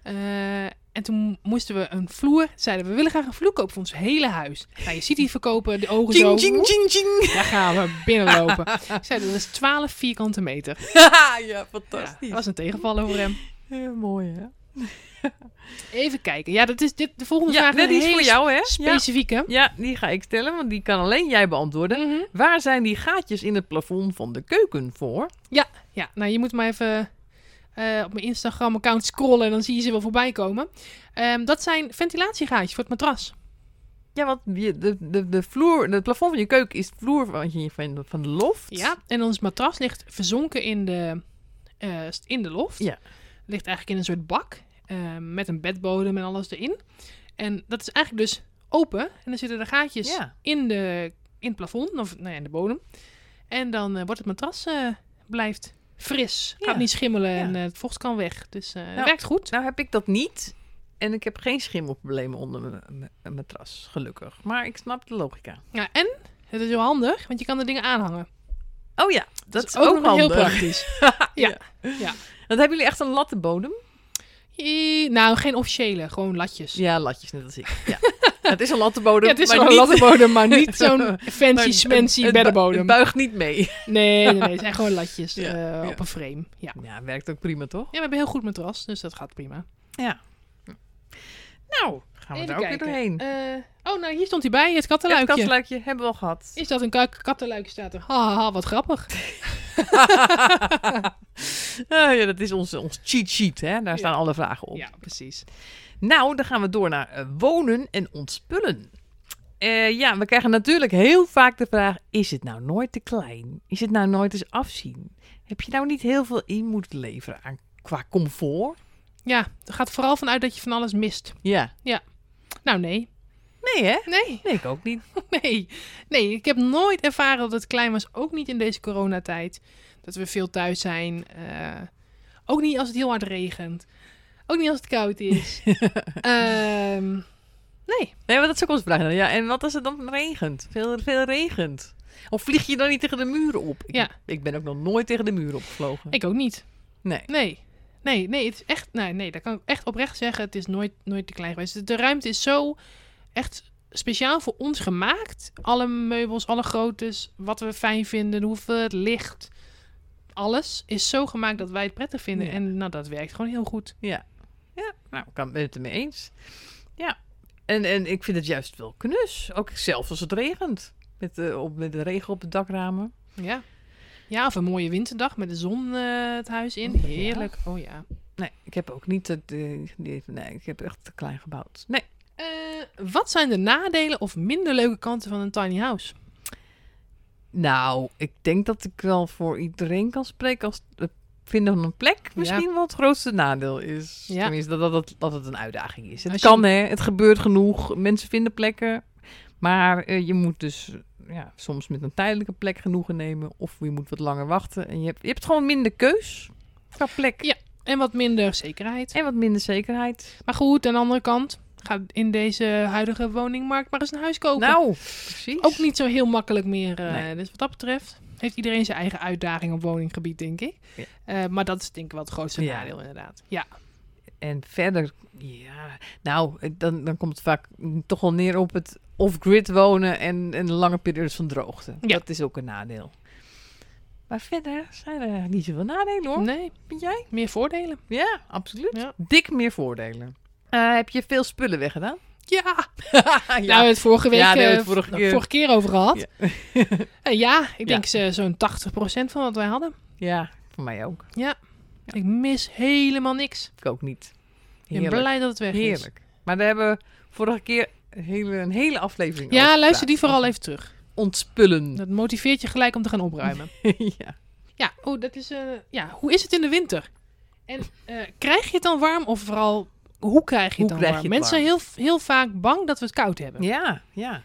S1: Eh, en toen moesten we een vloer. Zeiden we, we willen graag een vloer kopen voor ons hele huis. Nou, je ziet die verkopen, de ogen zo.
S2: Ching, ching, ching, ching.
S1: Daar gaan we binnenlopen. Ik zei, dat is 12 vierkante meter.
S2: ja,
S1: Ja,
S2: fantastisch.
S1: dat was een tegenvaller voor hem.
S2: Heel mooi, hè?
S1: Even kijken. Ja, dat is dit, de volgende
S2: Ja,
S1: vraag.
S2: dat
S1: een
S2: is
S1: hele
S2: voor jou, hè? Ja.
S1: Specifieke.
S2: ja, die ga ik stellen, want die kan alleen jij beantwoorden.
S1: Mhm.
S2: Waar zijn die gaatjes in het plafond van de keuken voor?
S1: Ja, nou je moet maar even eh, op mijn Instagram-account scrollen. En dan zie je ze wel voorbij komen. Ehm, dat zijn ventilatiegaatjes voor het matras.
S2: Ja, want je, de, de, de vloer, het plafond van je keuken is het vloer van, je- van, de- van de loft.
S1: Ja, en ons matras ligt verzonken in de, eh, st- in de loft.
S2: Ja.
S1: Ligt eigenlijk in een soort bak eh, met een bedbodem en alles erin. En dat is eigenlijk dus open. En dan zitten er gaatjes
S2: Ja.
S1: in, de, in het plafond, of nou ja, in de bodem. En dan eh, wordt het matras eh, blijft fris.
S2: Ja.
S1: Gaat niet schimmelen en
S2: Ja.
S1: eh, het vocht kan weg. Dus eh,
S2: Nou.
S1: het werkt goed.
S2: Nou heb ik dat niet. En ik heb geen schimmelproblemen onder mijn- mijn mijn matras, gelukkig. Maar ik snap de logica.
S1: Ja, en het is heel handig, want je kan de dingen aanhangen.
S2: Oh ja, dat, is ook,
S1: nog heel
S2: handig.
S1: praktisch.
S2: ja. ja. Want hebben jullie echt een lattenbodem?
S1: Eh, nou, geen officiële, gewoon latjes.
S2: Ja, latjes net als ik. Ja. het is een lattenbodem,
S1: Ja, het is
S2: maar
S1: wel een
S2: niet-
S1: lattenbodem, maar niet zo'n
S2: maar
S1: fancy,
S2: het-
S1: smancy
S2: het bu-
S1: beddenbodem.
S2: Het buigt niet mee.
S1: Nee, nee, nee, het zijn gewoon latjes
S2: Ja,
S1: eh,
S2: ja.
S1: op een frame. Ja.
S2: Ja, werkt ook prima, toch?
S1: ja, we hebben heel goed matras, dus dat gaat prima.
S2: Nou, gaan we
S1: Even
S2: daar ook weer
S1: kijken.
S2: doorheen.
S1: Eh, oh, nou, hier stond hij bij, het
S2: Het
S1: kattenluikje.
S2: kastluikje hebben we al gehad.
S1: Is dat een ka- kattenluikje, staat er. Hahaha, wat grappig.
S2: Ah, ja, dat is ons, ons cheat sheet, hè? Daar
S1: Ja.
S2: staan alle vragen op.
S1: Ja, precies.
S2: Nou, dan gaan we door naar eh, wonen en ontspullen. Eh, ja, we krijgen natuurlijk heel vaak de vraag: is het nou nooit te klein? Is het nou nooit eens afzien? Heb je nou niet heel veel in moeten leveren aan qua comfort?
S1: Ja, het gaat vooral vanuit dat je van alles mist.
S2: Ja.
S1: Nou, nee.
S2: Nee, hè?
S1: Nee,
S2: Nee, ik ook niet.
S1: nee. Nee, ik heb nooit ervaren dat het klein was. Ook niet in deze coronatijd. Dat we veel thuis zijn. eh, ook niet als het heel hard regent. Ook niet als het koud is. Ehm, nee.
S2: Nee, maar dat is ook onze vraag. dan. Ja, en wat als het dan regent? Veel, veel regent. Of vlieg je dan niet tegen de muren op? Ik,
S1: Ja.
S2: ik ben ook nog nooit tegen de muren opgevlogen.
S1: Ik ook niet.
S2: Nee.
S1: Nee. Nee, nee, het is echt. Nee, nee, dat kan ik echt oprecht zeggen. Het is nooit, nooit te klein geweest. De ruimte is zo echt speciaal voor ons gemaakt. Alle meubels, alle groottes, wat we fijn vinden, hoeveel het licht. Alles is zo gemaakt dat wij het prettig vinden.
S2: Ja.
S1: En nou, dat werkt gewoon heel goed.
S2: Ja. Ja, nou, ik kan ben het ermee eens. Ja. En, en ik vind het juist wel knus. Ook zelfs als het regent. Met de, op, met de regen op de dakramen.
S1: Ja. Ja, of een mooie winterdag met de zon eh, het huis in.
S2: Ja.
S1: Heerlijk. Oh ja.
S2: Nee, ik heb ook niet het... eh, die- nee, ik heb echt te klein gebouwd. Nee.
S1: Eh, wat zijn de nadelen of minder leuke kanten van een tiny house?
S2: Nou, ik denk dat ik wel voor iedereen kan spreken als het vinden van een plek misschien wel het grootste nadeel is.
S1: Ja.
S2: Tenminste, dat, dat, dat, dat het een uitdaging is. Het
S1: Als je-
S2: kan, hè. Het gebeurt genoeg. Mensen vinden plekken. Maar eh, je moet dus eh, ja, soms met een tijdelijke plek genoegen nemen. Of je moet wat langer wachten. En je hebt, je hebt gewoon minder keus qua plek.
S1: Ja. En wat minder zekerheid.
S2: En wat minder zekerheid.
S1: Maar goed, aan de andere kant, ga in deze huidige woningmarkt maar eens een huis kopen.
S2: Nou, precies.
S1: Ook niet zo heel makkelijk meer. eh,
S2: Nee.
S1: Dus wat dat betreft heeft iedereen zijn eigen uitdaging op woninggebied, denk ik.
S2: Ja.
S1: Eh, maar dat is denk ik wel het grootste
S2: Ja.
S1: nadeel, inderdaad. Ja,
S2: En verder, ja, nou, dan, dan komt het vaak toch wel neer op het off-grid wonen en, en lange periodes van droogte.
S1: Ja.
S2: Dat is ook een nadeel. Maar verder zijn er eigenlijk niet zoveel nadelen hoor,
S1: nee,
S2: vind jij?
S1: meer voordelen.
S2: Ja, absoluut.
S1: Ja.
S2: Dik meer voordelen. Eh, heb je veel spullen weggedaan?
S1: Ja,
S2: ja.
S1: daar hebben we het vorige week,
S2: Ja, daar hebben we het
S1: eh,
S2: vorige
S1: v-
S2: keer-
S1: vorige keer over gehad.
S2: Ja.
S1: Ja, ja ik denk ze- zo'n 80% van wat wij hadden.
S2: ja, voor mij ook.
S1: Ik mis helemaal niks.
S2: Ik ook niet.
S1: Ik ben blij dat het weg is.
S2: Heerlijk. Maar daar hebben we vorige keer een hele, een hele aflevering over
S1: Ja, luister die
S2: gepraat.
S1: vooral
S2: Over
S1: even terug.
S2: Ontspullen.
S1: Dat motiveert je gelijk om te gaan opruimen.
S2: ja.
S1: Ja, oh, dat is, eh, ja, hoe is het in de winter? En eh, krijg je het dan warm of vooral hoe krijg je het
S2: Hoe
S1: dan
S2: krijg
S1: warm?
S2: je het
S1: Mensen zijn heel, heel vaak bang dat we het koud hebben.
S2: Ja, ja.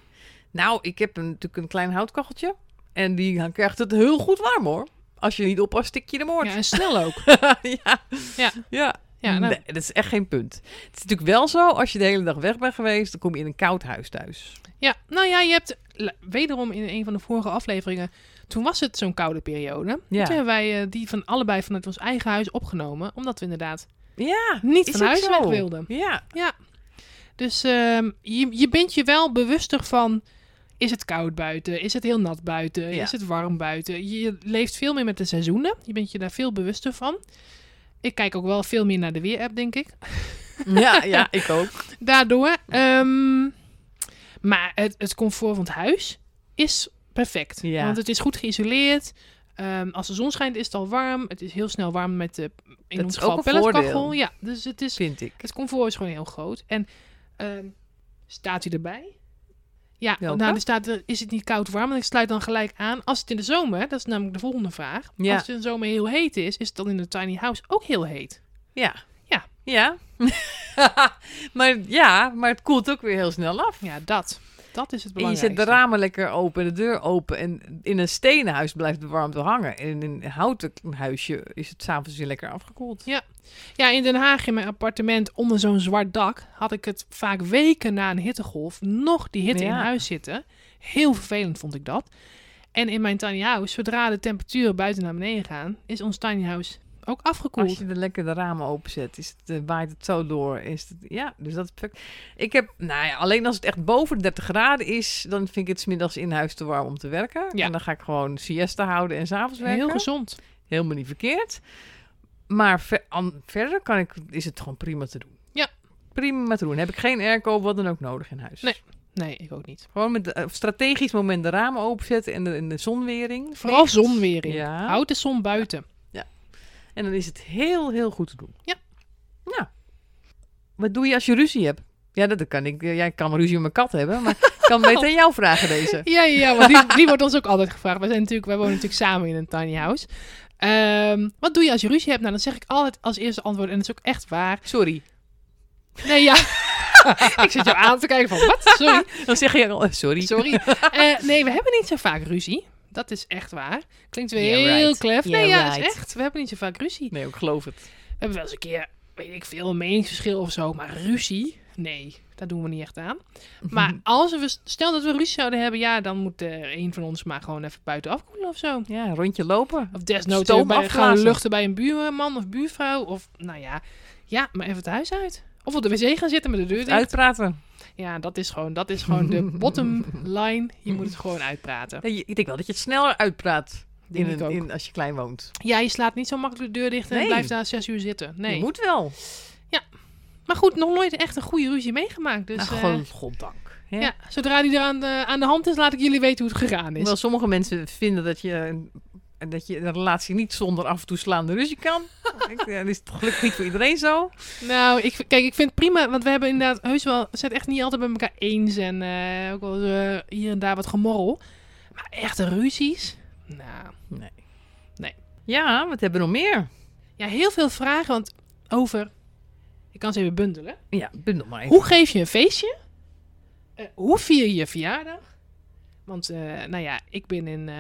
S2: Nou, ik heb een, natuurlijk een klein houtkacheltje. En die krijgt het heel goed warm hoor. Als je niet oppast, stik je de moord.
S1: Ja, en snel ook.
S2: ja.
S1: Ja.
S2: ja.
S1: Ja, nou,
S2: Nee, dat is echt geen punt. Het is natuurlijk wel zo, als je de hele dag weg bent geweest, dan kom je in een koud huis thuis.
S1: ja, nou ja, je hebt la- wederom in een van de vorige afleveringen. Toen was het zo'n koude periode. En
S2: Ja.
S1: Toen hebben wij eh, die van allebei vanuit ons eigen huis opgenomen. Omdat we inderdaad
S2: Ja,
S1: niet
S2: is
S1: van
S2: ook
S1: huis
S2: zo.
S1: weg wilden.
S2: Ja,
S1: Dus ehm, je, je bent je wel bewuster van... Is het koud buiten? Is het heel nat buiten?
S2: Ja.
S1: Is het warm buiten? Je, je leeft veel meer met de seizoenen. Je bent je daar veel bewuster van. Ik kijk ook wel veel meer naar de weer-app, denk ik.
S2: ja, ja, ik ook.
S1: Daardoor. ehm, maar het, het comfort van het huis is perfect.
S2: Ja.
S1: Want het is goed geïsoleerd. Ehm, als de zon schijnt is het al warm. Het is heel snel warm met de, in
S2: is
S1: ons
S2: ook
S1: geval
S2: een
S1: pelletkachel.
S2: voordeel.
S1: Ja, dus het is
S2: Vind ik.
S1: het comfort is gewoon heel groot. En ehm, staat hij erbij? Ja,
S2: Welke?
S1: nou, er staat er, is het niet koud warm? En ik sluit dan gelijk aan. Als het in de zomer, dat is namelijk de volgende vraag.
S2: Ja.
S1: Als het in de zomer heel heet is, is het dan in de tiny house ook heel heet.
S2: Ja.
S1: Ja.
S2: Ja. maar ja, maar het koelt ook weer heel snel af.
S1: Ja, dat. Dat is het
S2: En je
S1: belangrijkste.
S2: zet de ramen lekker open, de deur open. En in een stenen huis blijft de warmte hangen. En in een houten huisje is het s'avonds weer lekker afgekoeld.
S1: Ja, in Den Haag in mijn appartement onder zo'n zwart dak had ik het vaak weken na een hittegolf nog die hitte in
S2: Ja.
S1: huis zitten. Heel vervelend vond ik dat. En in mijn tiny house, zodra de temperaturen buiten naar beneden gaan, is ons tiny house ook
S2: Als
S1: afgekoeld.
S2: je er lekker de ramen openzet, is het, eh, waait het zo door. Is het, ja, dus dat is perfect. Ik heb, nou ja, alleen als het echt boven de 30 graden is, dan vind ik het 's middags in huis te warm om te werken.
S1: Ja.
S2: En dan ga ik gewoon siesta houden en s'avonds werken.
S1: Heel gezond.
S2: Helemaal niet verkeerd. Maar ver- an- verder kan ik, is het gewoon prima te doen.
S1: Ja.
S2: Prima te doen. Heb ik geen airco, wat dan ook nodig in huis.
S1: Nee. Nee, ik ook niet.
S2: Gewoon met de- op strategisch moment de ramen openzetten en de, en de zonwering.
S1: Vooral
S2: Licht.
S1: zonwering.
S2: Ja.
S1: Houd de zon buiten.
S2: En dan is het heel, heel goed te doen.
S1: Ja.
S2: Nou. Wat doe je als je ruzie hebt? Ja, dat kan ik. Jij kan ruzie met mijn kat hebben, maar ik kan beter aan jou vragen deze.
S1: Ja, ja, ja, want die, die wordt ons ook altijd gevraagd. Wij, zijn natuurlijk, wij wonen natuurlijk samen in een tiny house. Ehm, wat doe je als je ruzie hebt? Nou, dan zeg ik altijd als eerste antwoord, en dat is ook echt waar.
S2: Sorry.
S1: Nee, ja. ik zit jou aan te kijken van, wat? Sorry.
S2: Dan zeg je al, eh, sorry.
S1: Sorry. Eh, nee, we hebben niet zo vaak ruzie. Dat is echt waar. Klinkt weer
S2: Yeah,
S1: heel
S2: right.
S1: klef. Nee,
S2: Yeah,
S1: ja, dat is
S2: right.
S1: echt. We hebben niet zo vaak ruzie.
S2: Nee, ik geloof het.
S1: We hebben wel eens een keer, weet ik veel, een meningsverschil of zo. Maar ruzie? Nee, dat doen we niet echt aan. Maar als we, stel dat we ruzie zouden hebben, ja, dan moet eh een van ons maar gewoon even buiten afkoelen of zo.
S2: Ja, rondje lopen.
S1: Of desnoods
S2: Stoom
S1: even bij, gaan
S2: afblazen.
S1: luchten bij een buurman of buurvrouw. Of, nou ja, ja, maar even het huis uit. Of op de wc gaan zitten met de deur dicht.
S2: Uitpraten.
S1: Ja, dat is gewoon, dat is gewoon de bottom line. Je moet het gewoon uitpraten.
S2: Ja, je- ik denk wel dat je het sneller uitpraat
S1: Denk
S2: in
S1: ik
S2: een,
S1: ook.
S2: in, als je klein woont.
S1: Ja, je slaat niet zo makkelijk de deur dicht en
S2: Nee.
S1: blijft daar zes uur zitten. Nee. Dus,
S2: Je moet wel.
S1: Maar goed, nog nooit echt een goede ruzie meegemaakt. Dus
S2: nou,
S1: eh,
S2: gewoon, goddank. hè?
S1: ja, zodra die er aan de, aan de hand is, laat ik jullie weten hoe het gegaan is.
S2: Hoewel sommige mensen vinden dat je, dat je een relatie niet zonder af en toe slaande ruzie kan. Ik- ja, dat is toch gelukkig niet voor iedereen zo.
S1: Nou, ik, kijk, ik vind het prima, want we hebben inderdaad heus wel, we zijn het echt niet altijd met elkaar eens. En eh, ook wel eens, eh, hier en daar wat gemorrel. Maar echte ruzies? Nou,
S2: Nee.
S1: Nee.
S2: Ja, wat hebben we nog meer?
S1: ja, heel veel vragen, want over, ik kan ze even bundelen.
S2: Ja, bundel maar even.
S1: Hoe geef je een feestje? Eh, hoe vier je je verjaardag? Want, eh, nou ja, ik ben in eh,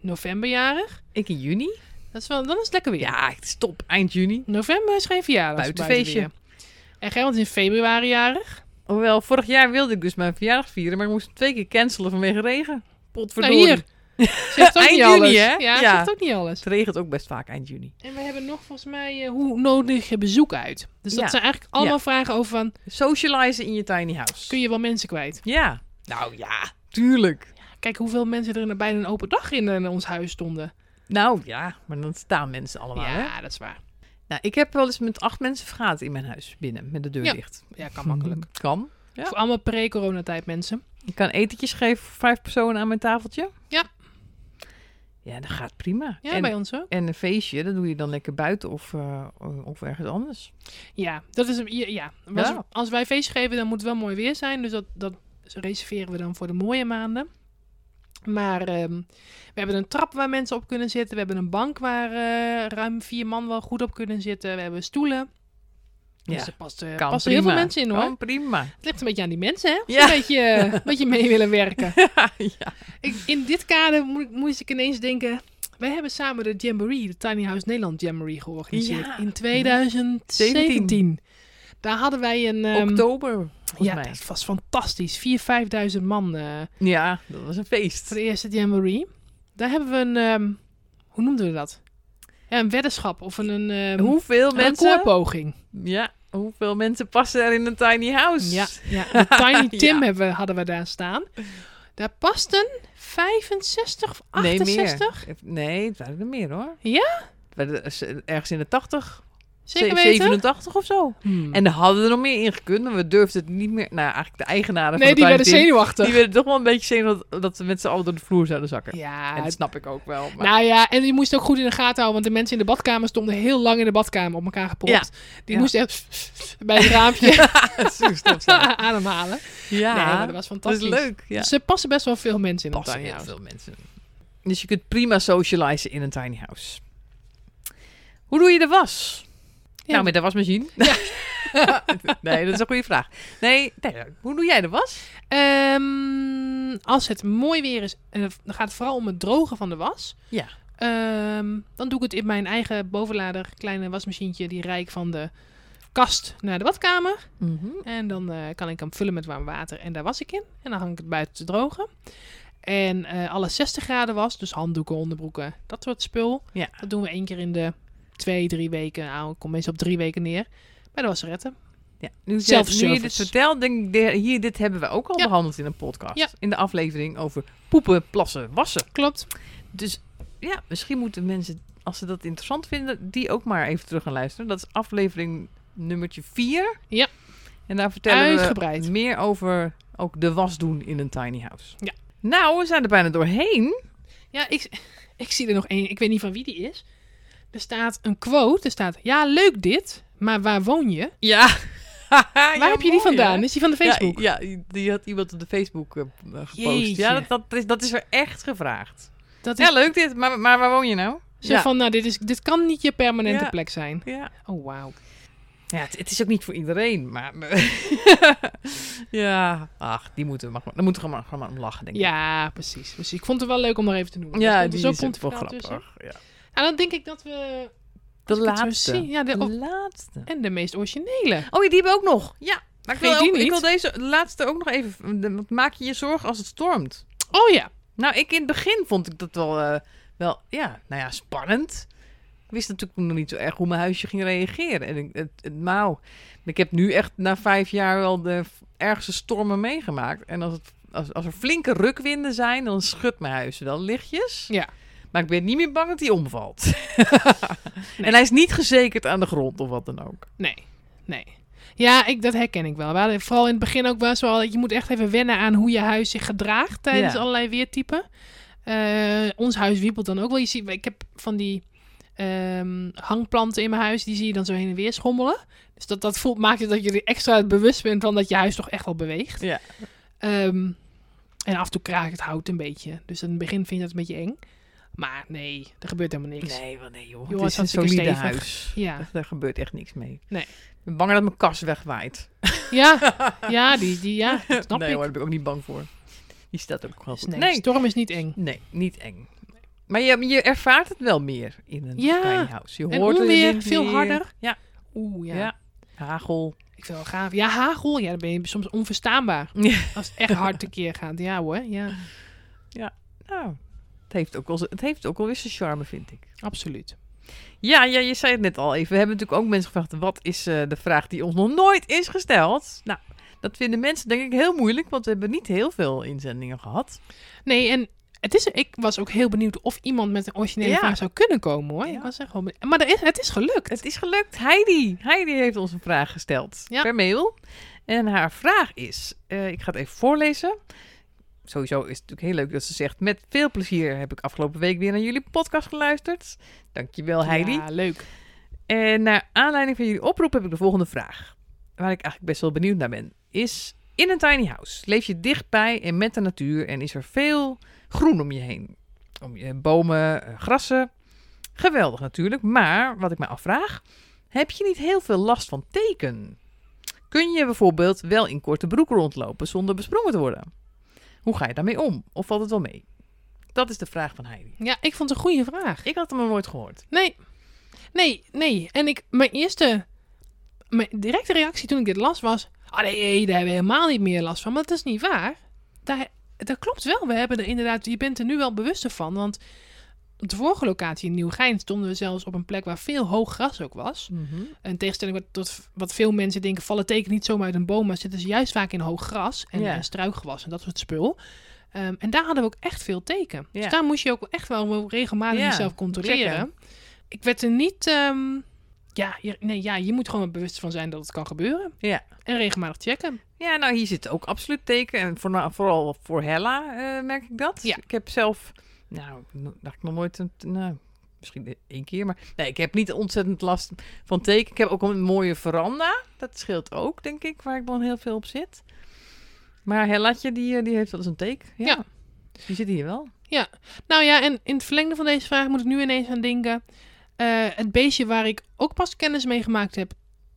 S1: november jarig.
S2: Ik in juni.
S1: Dat is wel, dan is het lekker weer.
S2: Ja, het is top. Eind juni.
S1: November is geen verjaardag. is
S2: Buitenfeestje.
S1: buiten weer. En Gerald is in februari jarig. Nou,
S2: Hoewel, vorig jaar wilde ik dus mijn verjaardag vieren, maar ik moest hem twee keer cancelen vanwege regen. Potverdorie.
S1: Nou, hier. Zegt ook
S2: Eind
S1: niet
S2: juni,
S1: alles.
S2: hè?
S1: Ja,
S2: Ja.
S1: zegt ook niet alles.
S2: Het regent ook best vaak eind juni.
S1: En we hebben nog volgens mij, eh, hoe nodig je bezoek uit? Dus dat
S2: Ja.
S1: zijn eigenlijk allemaal vragen over van,
S2: Socializen in je tiny house.
S1: kun je wel mensen kwijt?
S2: Ja. Nou ja, tuurlijk.
S1: Kijk hoeveel mensen er in- bijna een open dag in, eh, in ons huis stonden.
S2: Nou ja, maar dan staan mensen allemaal, hè?
S1: ja, dat is waar.
S2: Nou, ik heb wel eens met acht mensen vergaderd in mijn huis binnen, met de deur
S1: Ja.
S2: dicht.
S1: Ja, kan makkelijk.
S2: Mhm. Kan. Ja.
S1: Voor allemaal pre-coronatijd mensen.
S2: Ik kan etentjes geven voor vijf personen aan mijn tafeltje.
S1: Ja.
S2: Ja, dat gaat prima.
S1: Ja,
S2: en,
S1: bij ons ook.
S2: en een feestje, dat doe je dan lekker buiten of, eh, of ergens anders.
S1: Ja, dat is, ja, ja. Als,
S2: Ja.
S1: als wij feest geven, dan moet het wel mooi weer zijn. Dus dat, dat reserveren we dan voor de mooie maanden. Maar ehm, we hebben een trap waar mensen op kunnen zitten. We hebben een bank waar eh, ruim vier man wel goed op kunnen zitten. We hebben stoelen. Dus
S2: Ja.
S1: er past, eh,
S2: Kan
S1: passen heel veel
S2: prima.
S1: mensen in hoor.
S2: Kan prima.
S1: Het ligt een beetje aan die mensen, hè? Of ze
S2: Ja.
S1: Een, beetje, eh, een beetje mee willen werken.
S2: ja.
S1: Ik, in dit kader mo- moest ik ineens denken... Wij hebben samen de Jamboree, de Tiny House Nederland Jamboree, georganiseerd.
S2: Ja.
S1: In 2017. Daar hadden wij een... ehm,
S2: Oktober, volgens
S1: ja,
S2: mij.
S1: dat was fantastisch. 4.000, 5.000 man eh,
S2: Ja, dat was een feest.
S1: voor de eerste Jamboree. Daar hebben we een... ehm, hoe noemden we dat? Ja, een weddenschap of een... een ehm,
S2: Hoeveel
S1: een
S2: mensen...
S1: recordpoging.
S2: Ja, hoeveel mensen passen er in een tiny house?
S1: Ja, ja. de Tiny Tim
S2: Ja.
S1: hebben we- hadden we daar staan. Daar pasten 65 of 68?
S2: Nee, meer. Nee, het waren er meer hoor.
S1: Ja?
S2: Het waren er eh, Ergens in de 80,
S1: Zeker
S2: ze-
S1: weten?
S2: 87 of zo.
S1: Hmm.
S2: En er hadden er nog meer ingekund, maar we durfden het niet meer. Nou, eigenlijk de eigenaren
S1: nee,
S2: van
S1: die
S2: de Tiny
S1: werden
S2: Tim,
S1: zenuwachtig.
S2: Die werden toch wel een beetje zenuwachtig dat we met z'n allen door de vloer zouden zakken.
S1: Ja,
S2: En dat snap ik ook wel. Maar...
S1: nou ja, en je moest ook goed in de gaten houden, want de mensen in de badkamer stonden heel lang in de badkamer op elkaar gepropt.
S2: Ja.
S1: Die
S2: Ja.
S1: moesten echt bij het raampje
S2: Zo, snap je.
S1: ademhalen.
S2: ja,
S1: Nee, maar dat was
S2: dat is
S1: fantastisch.
S2: leuk. Ja.
S1: Ze passen best wel veel mensen in een
S2: passen
S1: tiny
S2: heel
S1: house.
S2: veel mensen. Dus je kunt prima socializen in een tiny house. Hoe doe je de was?
S1: Ja.
S2: Nou, met de wasmachine. nee, dat is een goede vraag. Nee, nee, hoe doe jij de was?
S1: Ehm, als het mooi weer is, en het- dan gaat het vooral om het drogen van de was.
S2: Ja.
S1: Ehm, dan doe ik het in mijn eigen bovenlader, kleine wasmachientje, die rijk van de kast naar de badkamer. En dan eh, kan ik hem vullen met warm water en daar was ik in. En dan hang ik het buiten te drogen. En eh, alle 60 graden was, dus handdoeken, onderbroeken, dat soort spul.
S2: Ja.
S1: Dat doen we één keer in de twee, drie weken. Nou, ik kom meestal op drie weken neer. Bij de wasseretten.
S2: Dus Ja, nu, je,
S1: Self-service.
S2: nu je dit vertelt, denk ik, de- hier, dit hebben we ook al
S1: Ja.
S2: behandeld in een podcast.
S1: Ja.
S2: In de aflevering over poepen, plassen, wassen.
S1: Klopt.
S2: Dus ja, misschien moeten mensen, als ze dat interessant vinden, die ook maar even terug gaan luisteren. Dat is aflevering nummertje 4.
S1: Ja.
S2: En daar vertellen
S1: Uitgebreid.
S2: we meer over ook de was doen in een tiny house.
S1: Ja.
S2: Nou, we zijn er bijna doorheen.
S1: Ja, ik, ik zie er nog één. Ik weet niet van wie die is. Er staat een quote. Er staat, ja, leuk dit, maar waar woon je?
S2: Ja. Waar
S1: waar heb je die vandaan? Is die van de Facebook?
S2: Ja, die- die had iemand op de Facebook eh, gepost.
S1: Jeetje.
S2: Ja, dat, dat, is, dat is er echt gevraagd.
S1: Dat is
S2: Ja, leuk dit. Maar, maar waar woon je nou?
S1: zo van, nou, dit, is, dit kan niet je permanente
S2: Ja.
S1: plek zijn.
S2: Ja.
S1: Oh, wauw.
S2: Ja, het, het is ook niet voor iedereen, maar... ja, ach, die moeten we maar, daar moeten we maar, gewoon maar om lachen, denk ik.
S1: Ja, precies, precies. Ik vond het wel leuk om nog even te noemen. Er
S2: ja
S1: stond er
S2: die
S1: dus zo nou
S2: is ook wel
S1: pontificaal
S2: grappig.
S1: tussen.
S2: Ja.
S1: En dan denk ik dat we...
S2: De
S1: als dus, ik het zo zie,
S2: laatste.
S1: Ja, de,
S2: De
S1: oh,
S2: laatste.
S1: en de meest originele.
S2: Oh, ja, die hebben we ook nog. Ja. Maar ik wil,
S1: Vergeet die
S2: ook- ik
S1: niet.
S2: wil deze laatste ook nog even... de- want Maak je je zorgen als het stormt?
S1: Oh ja.
S2: Nou, ik in het begin vond ik dat wel, eh, wel ja, nou ja, spannend. Ik wist natuurlijk nog niet zo erg hoe mijn huisje ging reageren. En ik, het, het, nou, ik heb nu echt na vijf jaar wel de f- ergste stormen meegemaakt. En als, het, als, als er flinke rukwinden zijn, dan schudt mijn huis wel lichtjes.
S1: Ja.
S2: Maar ik ben niet meer bang dat hij omvalt. En hij is niet gezekerd aan de grond of wat dan ook.
S1: Nee, nee. Ja, ik, dat herken ik wel. We hadden vooral in het begin ook best wel... Je moet echt even wennen aan hoe je huis zich gedraagt tijdens
S2: Ja.
S1: allerlei weertypen. Eh, ons huis wiebelt dan ook wel. Je ziet, ik heb van die ehm, hangplanten in mijn huis. Die zie je dan zo heen en weer schommelen. Dus dat, dat voelt, maakt het dat je er extra bewust bent van dat je huis toch echt wel beweegt.
S2: Ja.
S1: Ehm, en af en toe kraakt het hout een beetje. Dus in het begin vind je dat een beetje eng. Maar nee, er gebeurt helemaal niks.
S2: Nee, wel nee Dus joh.
S1: Joh,
S2: het is een
S1: het is
S2: solide
S1: hartstikke stevig.
S2: huis.
S1: Ja.
S2: Daar- Daar gebeurt echt niks mee.
S1: Nee.
S2: Ik ben bang dat mijn kas wegwaait.
S1: Ja, ja, die, die, ja, dat snap
S2: nee
S1: ik.
S2: hoor, daar ben ik ook niet bang voor. Die staat ook gewoon
S1: Dus
S2: goed.
S1: nee,
S2: nee,
S1: storm is niet eng.
S2: nee, niet eng. Maar je, je ervaart het wel meer in een
S1: Ja,
S2: tiny house. Je
S1: en
S2: hoort het
S1: onweer,
S2: ineens
S1: veel
S2: weer.
S1: harder.
S2: Ja,
S1: Oeh,
S2: ja.
S1: ja.
S2: Hagel.
S1: Ik vind het wel gaaf. Ja, hagel. Ja, dan ben je soms onverstaanbaar.
S2: Ja.
S1: Als het echt hard tekeer gaat. Ja hoor, ja.
S2: Nou, het heeft ook wel, z- het heeft ook wel weer zijn charme, vind ik.
S1: Absoluut.
S2: Ja, ja, je zei het net al even. We hebben natuurlijk ook mensen gevraagd... wat is eh, de vraag die ons nog nooit is gesteld? Nou, dat vinden mensen denk ik heel moeilijk... want we hebben niet heel veel inzendingen gehad.
S1: Nee, en het is, ik was ook heel benieuwd of iemand met een originele
S2: Ja.
S1: vraag zou kunnen komen hoor.
S2: Ja.
S1: Ik was echt wel benieuwd. Maar er is, het is gelukt.
S2: Het is gelukt. Heidi. Heidi heeft ons een vraag gesteld
S1: Ja.
S2: per mail. En haar vraag is, eh, ik ga het even voorlezen. Sowieso is het natuurlijk heel leuk dat ze zegt... met veel plezier heb ik afgelopen week weer naar jullie podcast geluisterd. Dankjewel Heidi.
S1: Ja, leuk.
S2: En naar aanleiding van jullie oproep heb ik de volgende vraag. Waar ik eigenlijk best wel benieuwd naar ben. Is in een tiny house leef je dichtbij en met de natuur en is er veel groen om je heen? Om je bomen, eh, grassen. Geweldig natuurlijk, maar wat ik me afvraag, heb je niet heel veel last van teken. Kun je bijvoorbeeld wel in korte broek rondlopen zonder besprongen te worden? Hoe ga je daarmee om? Of valt het wel mee? Dat is de vraag van Heidi.
S1: Ja, ik vond het een goede vraag.
S2: Ik had hem nog nooit gehoord.
S1: Nee, nee, nee. En ik, mijn eerste, mijn directe reactie toen ik dit las was... Ah nee, nee, daar hebben we helemaal niet meer last van. Maar dat is niet waar. Daar, dat klopt wel. We hebben er inderdaad, je bent er nu wel bewuster van. Want op de vorige locatie in Nieuwegein stonden we zelfs op een plek waar veel hoog gras ook was. In tegenstelling wat, tot wat veel mensen denken, vallen tekenen niet zomaar uit een boom, maar zitten ze juist vaak in hoog gras en,
S2: Ja.
S1: en struikgewas en dat soort spul. Ehm, en daar hadden we ook echt veel teken.
S2: Ja.
S1: Dus daar moest je ook echt wel wel regelmatig
S2: Ja,
S1: jezelf controleren.
S2: checken.
S1: Ik werd er niet... ehm, ja, je, nee, ja, je moet gewoon bewust van zijn dat het kan gebeuren.
S2: Ja.
S1: En regelmatig checken.
S2: Ja, nou hier zit ook absoluut teken. En voorna- vooral voor Hella eh, merk ik dat.
S1: Ja.
S2: Ik heb zelf, nou, no- dacht ik nog nooit, een, nou, misschien één keer. Maar nee, ik heb niet ontzettend last van teken. Ik heb ook een mooie veranda. Dat scheelt ook, denk ik, waar ik dan heel veel op zit. Maar Hellatje, die, eh, die heeft wel eens een teken. Ja.
S1: Ja.
S2: Die zit hier wel.
S1: Nou ja, en in het verlengde van deze vraag moet ik nu ineens aan denken. Eh, het beestje waar ik ook pas kennis mee gemaakt heb,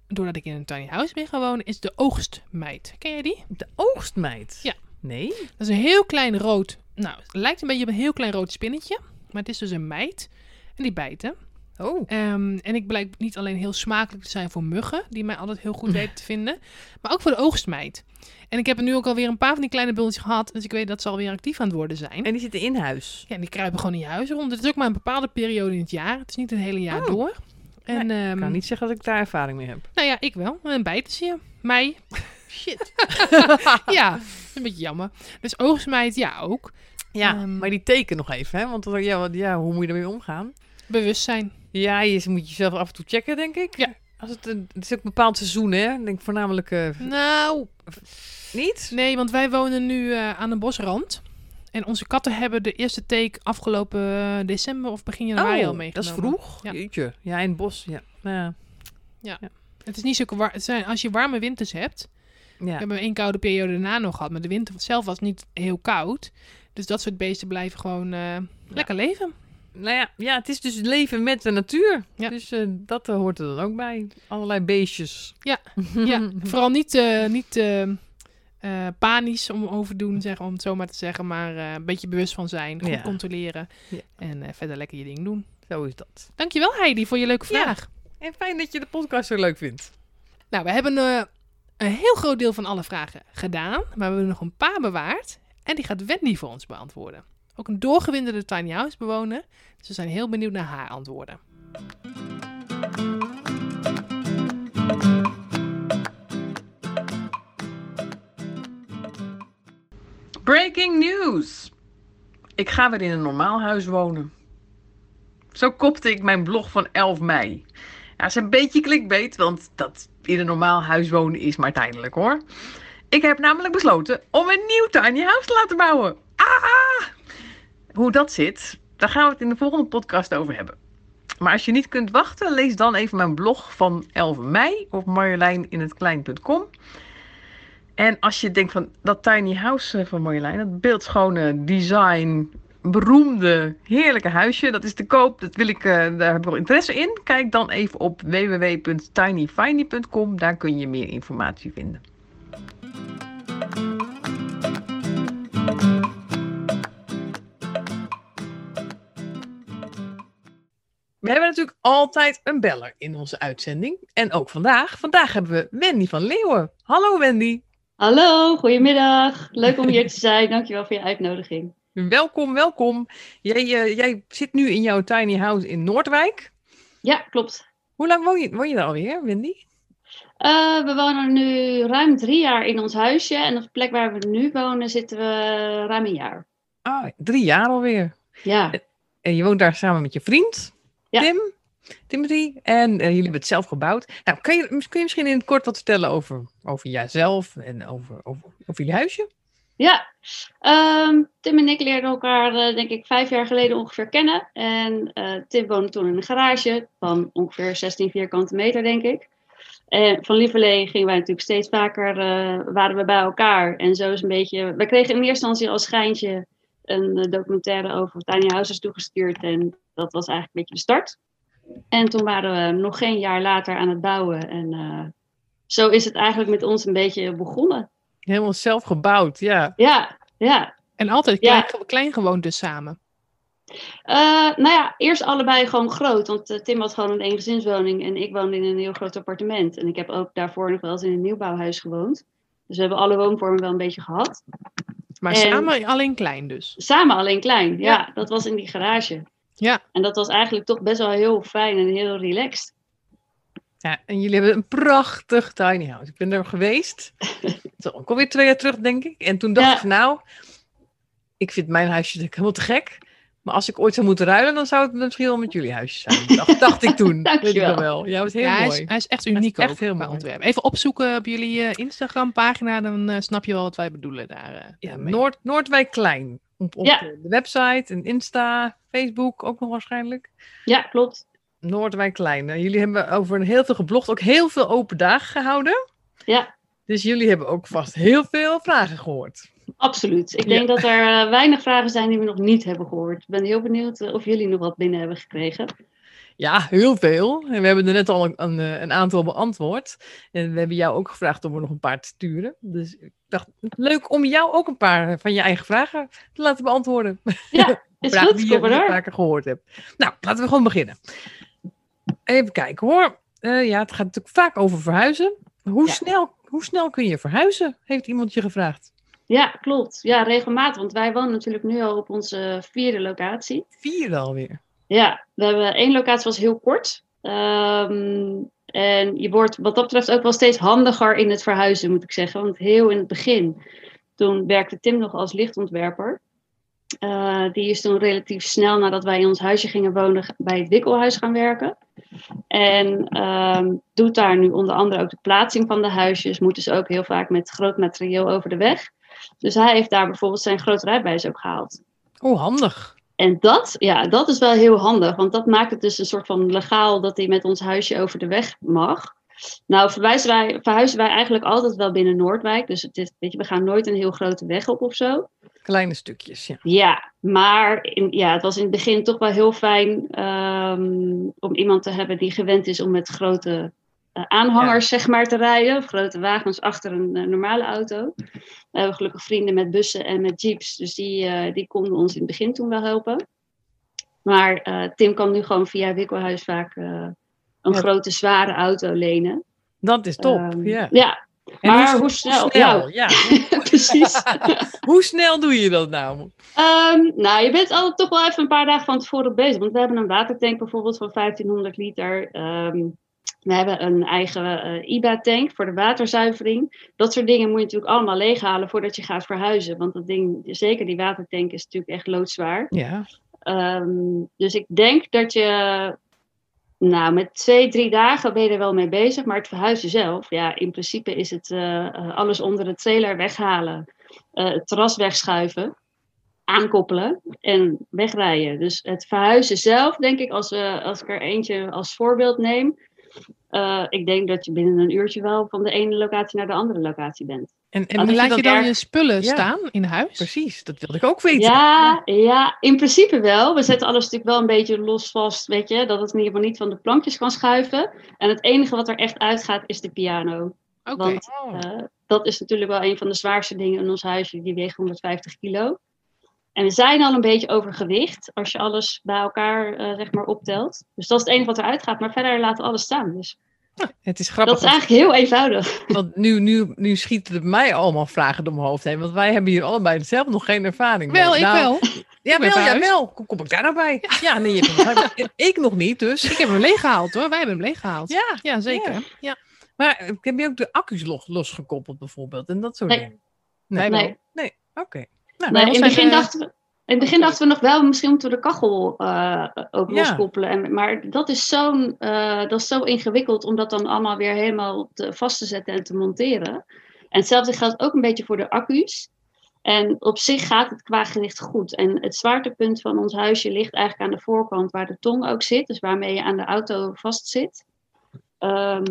S1: doordat ik in een tiny house ben gaan wonen, is de oogstmeid. Ken jij die?
S2: De oogstmeid.
S1: Ja.
S2: Nee?
S1: Dat is een heel klein rood. Nou, het lijkt een beetje op een heel klein rood spinnetje. Maar het is dus een meid. En die bijten.
S2: Oh.
S1: Ehm, en ik blijk niet alleen heel smakelijk te zijn voor muggen, die mij altijd heel
S2: Mm.
S1: goed weten te vinden, maar ook voor de oogstmeid. En ik heb er nu ook alweer een paar van die kleine bultjes gehad, dus ik weet dat ze alweer actief aan het worden zijn.
S2: En die zitten in huis.
S1: Ja, en die kruipen gewoon in je huis rond. Het is ook maar een bepaalde periode in het jaar. Het is niet het hele jaar
S2: Oh.
S1: door. En, ehm,
S2: Ik kan niet zeggen dat ik daar ervaring mee heb.
S1: Nou ja, ik wel. En bijten ze je. Mij.
S2: Shit.
S1: ja, dat is een beetje jammer. Dus oogstmeid, ja, ook.
S2: Ja,
S1: Ehm.
S2: maar die teken nog even, hè? Want dan- ja, wat- ja, hoe moet je ermee omgaan?
S1: Bewustzijn.
S2: Ja, je is- moet jezelf af en toe checken, denk ik.
S1: Ja.
S2: Als het, een, het is ook een bepaald seizoen, hè? Ik denk voornamelijk eh,
S1: Nou,
S2: niet.
S1: Nee, want wij wonen nu eh, aan een bosrand. En onze katten hebben de eerste take afgelopen eh, december of begin januari al meegenomen.
S2: Oh, dat is vroeg.
S1: Ja.
S2: Jeetje. Ja, in het bos. Ja. Ja.
S1: Het is niet zo warm. Zijn, als je warme winters hebt. We
S2: Ja.
S1: hebben één koude periode daarna nog gehad. Maar de winter zelf was niet heel koud. Dus dat soort beesten blijven gewoon eh, lekker leven.
S2: Nou ja, ja, het is dus leven met de natuur.
S1: Ja.
S2: Dus eh, dat eh, hoort er dan ook bij. Allerlei beestjes. Hm.
S1: Ja. Ja, vooral niet, eh, niet eh, eh, panisch om overdoen, zeg, om het zo maar te zeggen. Maar eh, een beetje bewust van zijn. Goed
S2: Ja.
S1: controleren.
S2: Ja.
S1: En eh, verder lekker je ding doen.
S2: Zo is dat.
S1: Dankjewel Heidi voor je leuke
S2: Ja.
S1: vraag.
S2: En fijn dat je de podcast zo leuk vindt.
S1: Nou, we hebben eh, een heel groot deel van alle vragen gedaan, maar we hebben nog een paar bewaard. En die gaat Wendy voor ons beantwoorden. Ook een doorgewinterde tiny house bewoner. Dus we zijn heel benieuwd naar haar antwoorden.
S2: Breaking news! Ik ga weer in een normaal huis wonen. Zo kopte ik mijn blog van 11 mei. Ja, is een beetje clickbait, want dat in een normaal huis wonen is maar tijdelijk hoor. Ik heb namelijk besloten om een nieuw tiny house te laten bouwen. Ah! Hoe dat zit, daar gaan we het in de volgende podcast over hebben. Maar als je niet kunt wachten, lees dan even mijn blog van 11 mei op marjoleininhetklein.com. En als je denkt van dat tiny house eh, van Marjolein, dat beeldschone design, beroemde, heerlijke huisje, dat is te koop. Dat wil ik, eh, daar heb ik wel interesse in. Kijk dan even op www.tinyfindy.com, daar kun je meer informatie vinden. We hebben natuurlijk altijd een beller in onze uitzending. En ook vandaag. Vandaag hebben we Wendy van Leeuwen. Hallo Wendy.
S3: Hallo, goedemiddag. Leuk om hier te zijn. Dankjewel voor je uitnodiging.
S2: Welkom, welkom. Jij, eh, jij zit nu in jouw tiny house in Noordwijk.
S3: Ja, klopt.
S2: Hoe lang woon je, woon je daar alweer, Wendy?
S3: Eh, we wonen nu ruim drie jaar in ons huisje. En op de plek waar we nu wonen zitten we ruim een jaar.
S2: Ah, drie jaar alweer.
S3: Ja,
S2: En je woont daar samen met je vriend,
S3: Ja.
S2: Tim, Timothy. En eh, jullie hebben het zelf gebouwd. Nou, kun je, kun je misschien in het kort wat vertellen over, over jijzelf en over, over, over jullie huisje?
S3: ja. Ehm, Tim en ik leerden elkaar, eh, denk ik, vijf jaar geleden ongeveer kennen. En eh, Tim woonde toen in een garage van ongeveer 16 vierkante meter, denk ik. En van Lieverlee gingen wij natuurlijk steeds vaker, eh, waren we bij elkaar. En zo is een beetje, we kregen in eerste instantie als schijntje een eh, documentaire over tiny houses toegestuurd. En dat was eigenlijk een beetje de start. En toen waren we nog geen jaar later aan het bouwen. En eh, zo is het eigenlijk met ons een beetje begonnen.
S2: Helemaal zelf gebouwd, ja.
S3: Ja, ja.
S1: En altijd
S3: Ja.
S1: klein, klein gewoond dus samen.
S3: Eh, nou ja, eerst allebei gewoon groot. Want eh, Tim had gewoon een eengezinswoning en ik woonde in een heel groot appartement. En ik heb ook daarvoor nog wel eens in een nieuwbouwhuis gewoond. Dus we hebben alle woonvormen wel een beetje gehad.
S1: Maar
S3: En-
S1: samen alleen klein dus.
S3: Samen alleen klein, ja. Dat was in die garage.
S1: Ja.
S3: En dat was eigenlijk toch best wel heel fijn en heel relaxed.
S2: ja. En jullie hebben een prachtig tiny house. Ik ben er geweest. Zo, ook alweer twee jaar terug, denk ik. En toen dacht
S3: Ja.
S2: ik, nou, ik vind mijn huisje natuurlijk helemaal te gek. Maar als ik ooit zou moeten ruilen, dan zou het misschien wel met jullie huisje zijn. Dacht, dacht ik toen. Weet ik
S3: Dankjewel.
S2: nog wel. Ja, het was heel
S1: ja, hij,
S2: mooi.
S1: is, hij is echt uniek
S2: echt
S1: ook
S2: heel
S1: qua
S2: mooi.
S1: ontwerp. Even opzoeken op jullie eh, Instagram-pagina, dan eh, snap je wel wat wij bedoelen daar. eh,
S2: Ja,
S1: mee.
S2: Noord, Noordwijk Klein. Op, op
S3: Ja.
S2: de website en Insta, Facebook ook nog waarschijnlijk.
S3: Ja, klopt.
S2: Noordwijk Klein. Nou, jullie hebben over heel veel geblogd, ook heel veel open dagen gehouden.
S3: Ja.
S2: Dus jullie hebben ook vast heel veel vragen gehoord.
S3: Absoluut. Ik denk dat er eh, weinig vragen zijn die we nog niet hebben gehoord. Ik ben heel benieuwd eh, of jullie nog wat binnen hebben gekregen.
S2: Ja, heel veel. En we hebben er net al een, een, eh, een aantal beantwoord. En we hebben jou ook gevraagd om er nog een paar te sturen. Dus ik dacht, leuk om jou ook een paar eh, van je eigen vragen te laten beantwoorden.
S3: Is
S2: vraag
S3: goed,
S2: die je
S3: kom maar
S2: heel
S3: door.
S2: vaker gehoord hebt. Nou, laten we gewoon beginnen. Even kijken hoor. Eh, ja, het gaat natuurlijk vaak over verhuizen. Hoe,
S3: Ja.
S2: snel, hoe snel kun je verhuizen? Heeft iemand je gevraagd.
S3: Ja, klopt. Ja, regelmatig. Want wij wonen natuurlijk nu al op onze eh, vierde locatie.
S2: Vier alweer.
S3: Ja, we hebben één locatie was heel kort. Ehm, en je wordt wat dat betreft ook wel steeds handiger in het verhuizen, moet ik zeggen. Want heel in het begin, toen werkte Tim nog als lichtontwerper. Eh, die is toen relatief snel nadat wij in ons huisje gingen wonen g- bij het Wikkelhuis gaan werken. En ehm, doet daar nu onder andere ook de plaatsing van de huisjes. Moeten ze ook heel vaak met groot materieel over de weg. Dus hij heeft daar bijvoorbeeld zijn groot rijbewijs ook gehaald.
S2: Oh, handig.
S3: En dat, ja, dat is wel heel handig, want dat maakt het dus een soort van legaal dat hij met ons huisje over de weg mag. Nou, verwijzen wij, verhuizen wij eigenlijk altijd wel binnen Noordwijk, dus het is, weet je, we gaan nooit een heel grote weg op of zo.
S2: Kleine stukjes, ja.
S3: Ja, maar in, ja, het was in het begin toch wel heel fijn ehm, om iemand te hebben die gewend is om met grote eh, aanhangers zeg maar, te rijden, of grote wagens achter een eh, normale auto. We hebben gelukkig vrienden met bussen en met jeeps, dus die, eh, die konden ons in het begin toen wel helpen. Maar eh, Tim kan nu gewoon via Wikkelhuis vaak eh, een
S2: Ja.
S3: grote, zware auto lenen.
S2: Dat is top.
S3: Ehm,
S2: ja.
S3: Ja,
S2: En
S3: maar
S2: s-
S3: hoe snel?
S2: Ja.
S3: precies.
S2: hoe snel doe je dat nou?
S3: Ehm, nou, je bent al toch wel even een paar dagen van tevoren bezig. Want we hebben een watertank bijvoorbeeld van 1500 liter. Ehm, we hebben een eigen eh, IBA-tank voor de waterzuivering. Dat soort dingen moet je natuurlijk allemaal leeghalen voordat je gaat verhuizen. Want dat ding, zeker die watertank, is natuurlijk echt loodzwaar.
S2: Ja.
S3: Ehm, dus ik denk dat je, nou, met twee, drie dagen ben je er wel mee bezig. Maar het verhuizen zelf, ja, in principe is het eh, eh, alles onder de trailer weghalen, eh, het terras wegschuiven, aankoppelen en wegrijden. Dus het verhuizen zelf, denk ik, als, we, als ik er eentje als voorbeeld neem. eh, ik denk dat je binnen een uurtje wel van de ene locatie naar de andere locatie bent.
S2: En, en
S3: Als-
S1: En
S3: vind
S1: laat
S3: dat
S1: je dan
S3: erg.
S1: je spullen
S2: Ja.
S1: staan in huis?
S2: precies, dat wilde ik ook weten.
S3: Ja, ja, in principe wel. We zetten alles natuurlijk wel een beetje los vast, weet je. Dat het in ieder geval niet van de plankjes kan schuiven. En het enige wat er echt uitgaat is de piano.
S1: Oké.
S3: Want
S2: Oh,
S3: eh, dat is natuurlijk wel een van de zwaarste dingen in ons huisje. Die weegt 150 kilo. En we zijn al een beetje overgewicht als je alles bij elkaar eh, zeg maar optelt. Dus dat is het enige wat eruit gaat. Maar verder laten we alles staan. Dus
S2: het is
S3: dat
S2: grappig.
S3: is eigenlijk heel eenvoudig.
S2: Want nu, nu, nu schieten er mij allemaal vragen door mijn hoofd heen. Want wij hebben hier allebei zelf nog geen ervaring mee.
S1: Wel, ik
S2: Nou,
S1: wel.
S2: Ja,
S1: ben
S2: wel, ja,
S1: verhuisd.
S2: wel. Kom, kom ik daar nou bij? Ja, nee, je hebt hem gelijk. ik nog niet, dus.
S1: Ik heb hem leeggehaald hoor. Wij hebben hem leeggehaald. Ja,
S2: Ja,
S1: zeker.
S2: Ja.
S1: Ja.
S2: maar eh, heb je ook de accu's los, losgekoppeld bijvoorbeeld en dat soort
S3: Nee.
S2: dingen?
S1: Wij wel.
S3: Nee.
S2: Nee, oké. Nou,
S3: Nee, in
S1: ons
S3: het
S1: zijn,
S3: begin,
S1: eh,
S3: dachten we, in het begin dachten we nog wel, misschien moeten we de kachel eh, ook
S2: Ja.
S3: loskoppelen. En, maar dat is, zo'n, eh, dat is zo ingewikkeld om dat dan allemaal weer helemaal te, vast te zetten en te monteren. En hetzelfde geldt ook een beetje voor de accu's. En op zich gaat het qua gewicht goed. En het zwaartepunt van ons huisje ligt eigenlijk aan de voorkant waar de tong ook zit. Dus waarmee je aan de auto vast zit. Ehm,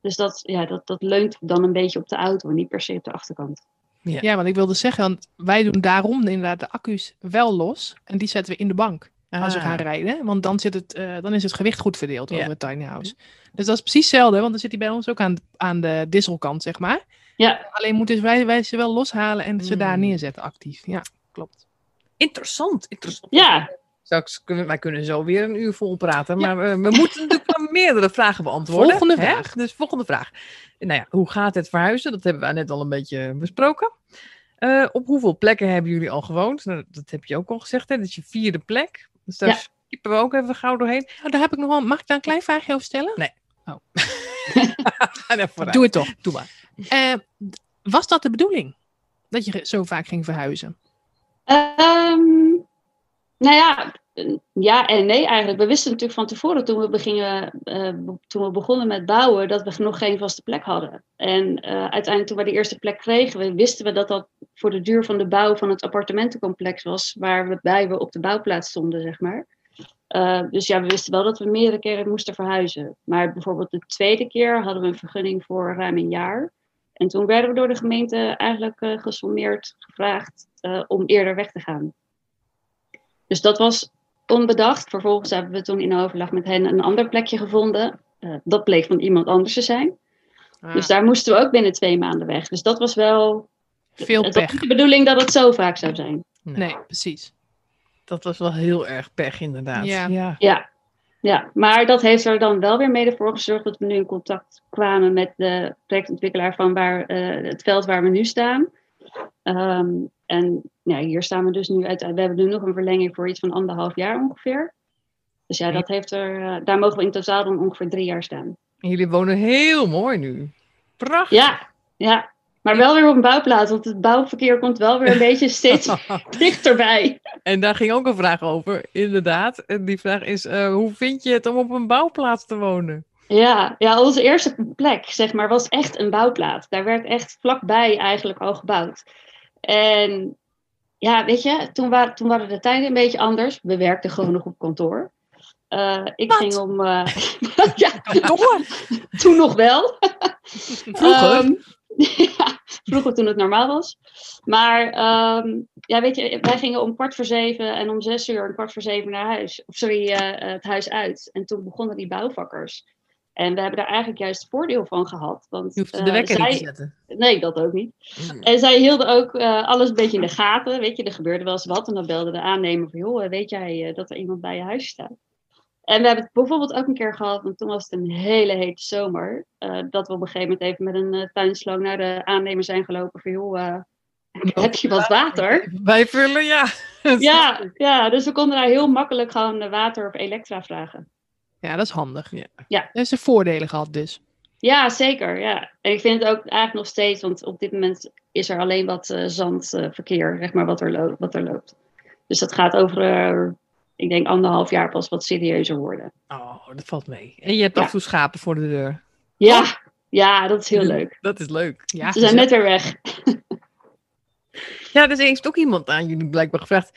S3: dus dat, ja, dat, dat leunt dan een beetje op de auto, niet per se op de achterkant.
S1: Ja, want ik wilde zeggen, want wij doen daarom inderdaad de accu's wel los. En die zetten we in de bank. Nou, als we gaan rijden. Want dan, zit het, eh, dan is het gewicht goed verdeeld
S2: Ah. Ja.
S1: over het tiny house. Dus dat is precies hetzelfde, want dan zit hij bij ons ook aan, aan de disselkant, zeg maar.
S3: Ja.
S1: Alleen moeten wij, wij ze wel loshalen en ze daar
S2: Mm.
S1: neerzetten actief. Ja, klopt.
S2: Interessant, interessant.
S3: Ja,
S2: Straks kunnen, wij kunnen zo weer een uur vol praten. Maar we, we moeten natuurlijk wel meerdere vragen beantwoorden.
S1: Volgende
S2: hè?
S1: vraag.
S2: Dus volgende vraag. Nou ja, hoe gaat het verhuizen? Dat hebben we net al een beetje besproken. Eh, op hoeveel plekken hebben jullie al gewoond? Nou, dat heb je ook al gezegd, hè? Dat is je vierde plek. Dus daar
S3: Ja.
S2: skippen we ook even gauw doorheen.
S1: Nou, daar heb ik nog wel. Mag ik daar een klein vraagje over stellen?
S2: Ga daar Ah, vooruit.
S1: Doe het toch.
S2: Doe maar.
S1: Eh, d- was dat de bedoeling? Dat je ge- zo vaak ging verhuizen?
S3: Ehm, nou ja, eh, ja en nee eigenlijk. We wisten natuurlijk van tevoren toen we, begingen, eh, be- toen we begonnen met bouwen dat we nog geen vaste plek hadden. En eh, uiteindelijk toen we de eerste plek kregen, we- wisten we dat dat voor de duur van de bouw van het appartementencomplex was waarbij we op de bouwplaats stonden, zeg maar. Eh, dus ja, we wisten wel dat we meerdere keren moesten verhuizen. Maar bijvoorbeeld de tweede keer hadden we een vergunning voor ruim een jaar. En toen werden we door de gemeente eigenlijk eh gesommeerd gevraagd eh, om eerder weg te gaan. Dus dat was onbedacht. Vervolgens hebben we toen in overleg met hen een ander plekje gevonden. Eh, dat bleek van iemand anders te zijn.
S1: Ah,
S3: Dus daar moesten we ook binnen twee maanden weg. Dus dat was wel.
S1: Veel
S3: het was
S1: pech.
S3: niet de bedoeling dat het zo vaak zou zijn.
S1: Nee, precies.
S2: Dat was wel heel erg pech, inderdaad.
S1: Ja.
S3: Ja. ja, maar dat heeft er dan wel weer mede voor gezorgd dat we nu in contact kwamen met de projectontwikkelaar van waar, eh, het veld waar we nu staan. Ehm, en ja, hier staan we dus nu uit. We hebben nu nog een verlenging voor iets van anderhalf jaar ongeveer. Dus ja, dat heeft er, eh, daar mogen we in totaal dan ongeveer drie jaar staan.
S2: En jullie wonen heel mooi nu. Prachtig.
S3: Ja, ja. Maar wel weer op een bouwplaats, want het bouwverkeer komt wel weer een beetje steeds dichterbij.
S2: En daar ging ook een vraag over, inderdaad. En die vraag is, eh, hoe vind je het om op een bouwplaats te wonen?
S3: Ja, ja, onze eerste plek, zeg maar, was echt een bouwplaats. Daar werd echt vlakbij eigenlijk al gebouwd. En ja, weet je, toen, wa toen waren de tijden een beetje anders. We werkten gewoon nog op kantoor. Eh, ik
S1: Wat?
S3: ging om. eh, ja,
S2: Door.
S3: toen nog wel.
S2: Vroeger.
S3: Ehm, ja, vroeger toen het normaal was. Maar ehm, ja, weet je, wij gingen om kwart voor zeven en om zes uur en kwart voor zeven naar huis. Of sorry, eh, eh, het huis uit. En toen begonnen die bouwvakkers. En we hebben daar eigenlijk juist voordeel van gehad. Want
S2: Je hoeft de
S3: eh,
S2: wekker niet te
S3: zij,
S2: zetten.
S3: Nee, dat ook niet. En zij hielden ook eh, alles een beetje in de gaten. Weet je, er gebeurde wel eens wat. En dan belde de aannemer van, joh, eh, weet jij eh, dat er iemand bij je huis staat? En we hebben het bijvoorbeeld ook een keer gehad, want toen was het een hele hete zomer. eh, dat we op een gegeven moment even met een eh, tuinslang naar de aannemer zijn gelopen van, joh, eh, heb je wat water?
S2: Wij vullen, ja.
S3: Ja, ja, dus we konden daar heel makkelijk gewoon eh, water of elektra vragen.
S1: Ja, dat is handig.
S2: Ja.
S3: Ja.
S1: Dus de voordelen gehad dus.
S3: Ja, zeker. Ja. En ik vind het ook eigenlijk nog steeds, want op dit moment is er alleen wat eh, zandverkeer, zeg maar, wat er, lo- wat er loopt. Dus dat gaat over, eh, ik denk, anderhalf jaar pas wat serieuzer worden.
S2: Oh, dat valt mee. En je hebt
S3: Ja.
S2: af en toe schapen voor de deur.
S3: Ja,
S1: Oh.
S3: ja dat is heel leuk.
S2: Dat is leuk.
S1: Ja,
S3: Ze zijn net weer weg.
S2: Ja, dus er heeft ook iemand aan jullie blijkbaar gevraagd.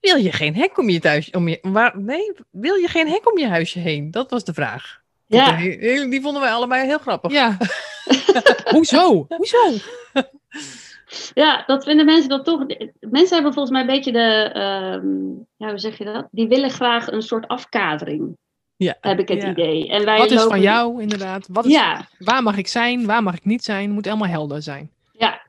S2: Wil je geen hek om je thuis? Om je, waar, nee, wil je geen hek om je huisje heen? Dat was de vraag.
S3: Ja,
S2: Die, die vonden wij allebei heel grappig.
S1: Ja. Hoezo? Hoezo?
S3: ja, dat vinden mensen dan toch. Mensen hebben volgens mij een beetje de, ehm, ja, hoe zeg je dat? Die willen graag een soort afkadering,
S2: Ja.
S3: heb ik het
S2: Ja.
S3: idee. En wij
S1: Wat is van
S3: lopen-
S1: jou inderdaad? Wat is,
S3: Ja,
S1: Waar mag ik zijn? Waar mag ik niet zijn? Moet allemaal helder zijn.
S3: Ja,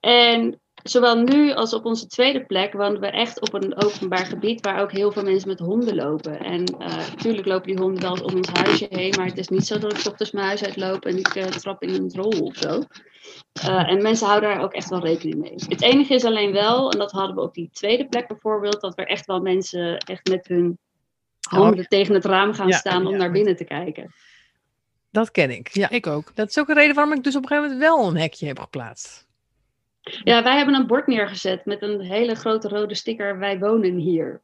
S3: en zowel nu als op onze tweede plek wonen we echt op een openbaar gebied waar ook heel veel mensen met honden lopen. En eh, natuurlijk lopen die honden wel eens om ons huisje heen, maar het is niet zo dat ik 's ochtends mijn huis uitloop en ik eh, trap in een rol of zo. Eh, en mensen houden daar ook echt wel rekening mee. Het enige is alleen wel, en dat hadden we op die tweede plek bijvoorbeeld, dat er echt wel mensen echt met hun handen tegen het raam gaan
S2: Oh, Ja,
S3: staan om
S2: ja.
S3: naar binnen te kijken.
S2: Dat ken ik. Ja.
S1: Ik ook.
S2: Dat is ook een reden waarom ik dus op een gegeven moment wel een hekje heb geplaatst.
S3: Ja, wij hebben een bord neergezet met een hele grote rode sticker. Wij wonen hier.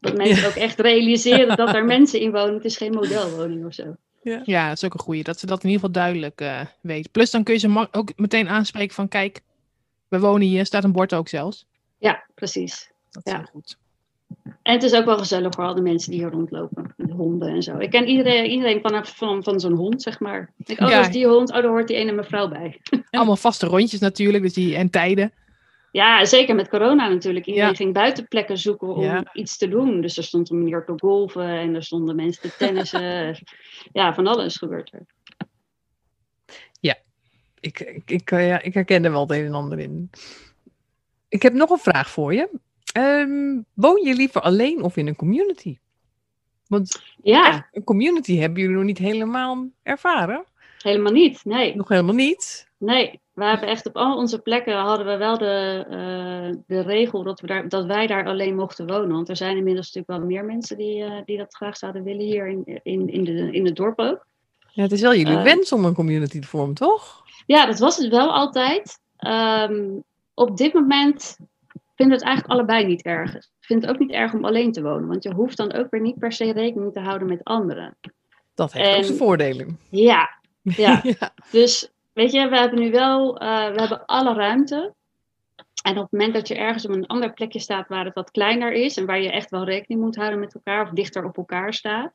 S3: Dat mensen ook echt realiseren dat er mensen in wonen. Het is geen modelwoning of zo.
S1: Ja, dat is ook een goeie. Dat ze dat in ieder geval duidelijk eh, weet. Plus dan kun je ze ma- ook meteen aanspreken van kijk, we wonen hier. Staat een bord ook zelfs.
S3: Ja, precies.
S1: Dat is
S3: Ja.
S1: heel goed.
S3: En het is ook wel gezellig voor al die mensen die hier rondlopen. Met honden en zo. Ik ken iedereen, iedereen van, van, van zo'n hond, zeg maar. Ik, denk, oh,
S1: Ja.
S3: dat is die hond. Oh, daar hoort die ene mevrouw bij.
S1: Allemaal vaste rondjes natuurlijk. Dus die, en tijden.
S3: Ja, zeker met corona natuurlijk. Iedereen
S2: Ja.
S3: ging buitenplekken zoeken om
S2: Ja.
S3: iets te doen. Dus er stond een meneer te golven en er stonden mensen te tennissen. ja, van alles gebeurt er.
S2: Ik, ik, ik, eh, ja, ik herken er wel het een en ander in. Ik heb nog een vraag voor je. Ehm, woon je liever alleen of in een community? Want
S3: Ja,
S2: echt, een community hebben jullie nog niet helemaal ervaren.
S3: helemaal niet. Nee.
S2: Nog helemaal niet.
S3: Nee, we hebben echt op al onze plekken hadden we wel de, eh, de regel dat, we daar, dat wij daar alleen mochten wonen. Want er zijn inmiddels natuurlijk wel meer mensen die, eh, die dat graag zouden willen hier in, in, in, de, in het dorp ook.
S2: Ja, het is wel jullie
S3: Eh.
S2: wens om een community te vormen, toch?
S3: Ja, dat was het wel altijd. Ehm, op dit moment vind ik het eigenlijk allebei niet erg. Ik vind het ook niet erg om alleen te wonen, want je hoeft dan ook weer niet per se rekening te houden met anderen.
S2: Dat heeft ook
S3: En-
S2: zijn voordelen.
S3: Ja, ja.
S2: ja.
S3: Dus weet je, we hebben nu wel, eh, we hebben alle ruimte. En op het moment dat je ergens op een ander plekje staat waar het wat kleiner is en waar je echt wel rekening moet houden met elkaar of dichter op elkaar staat.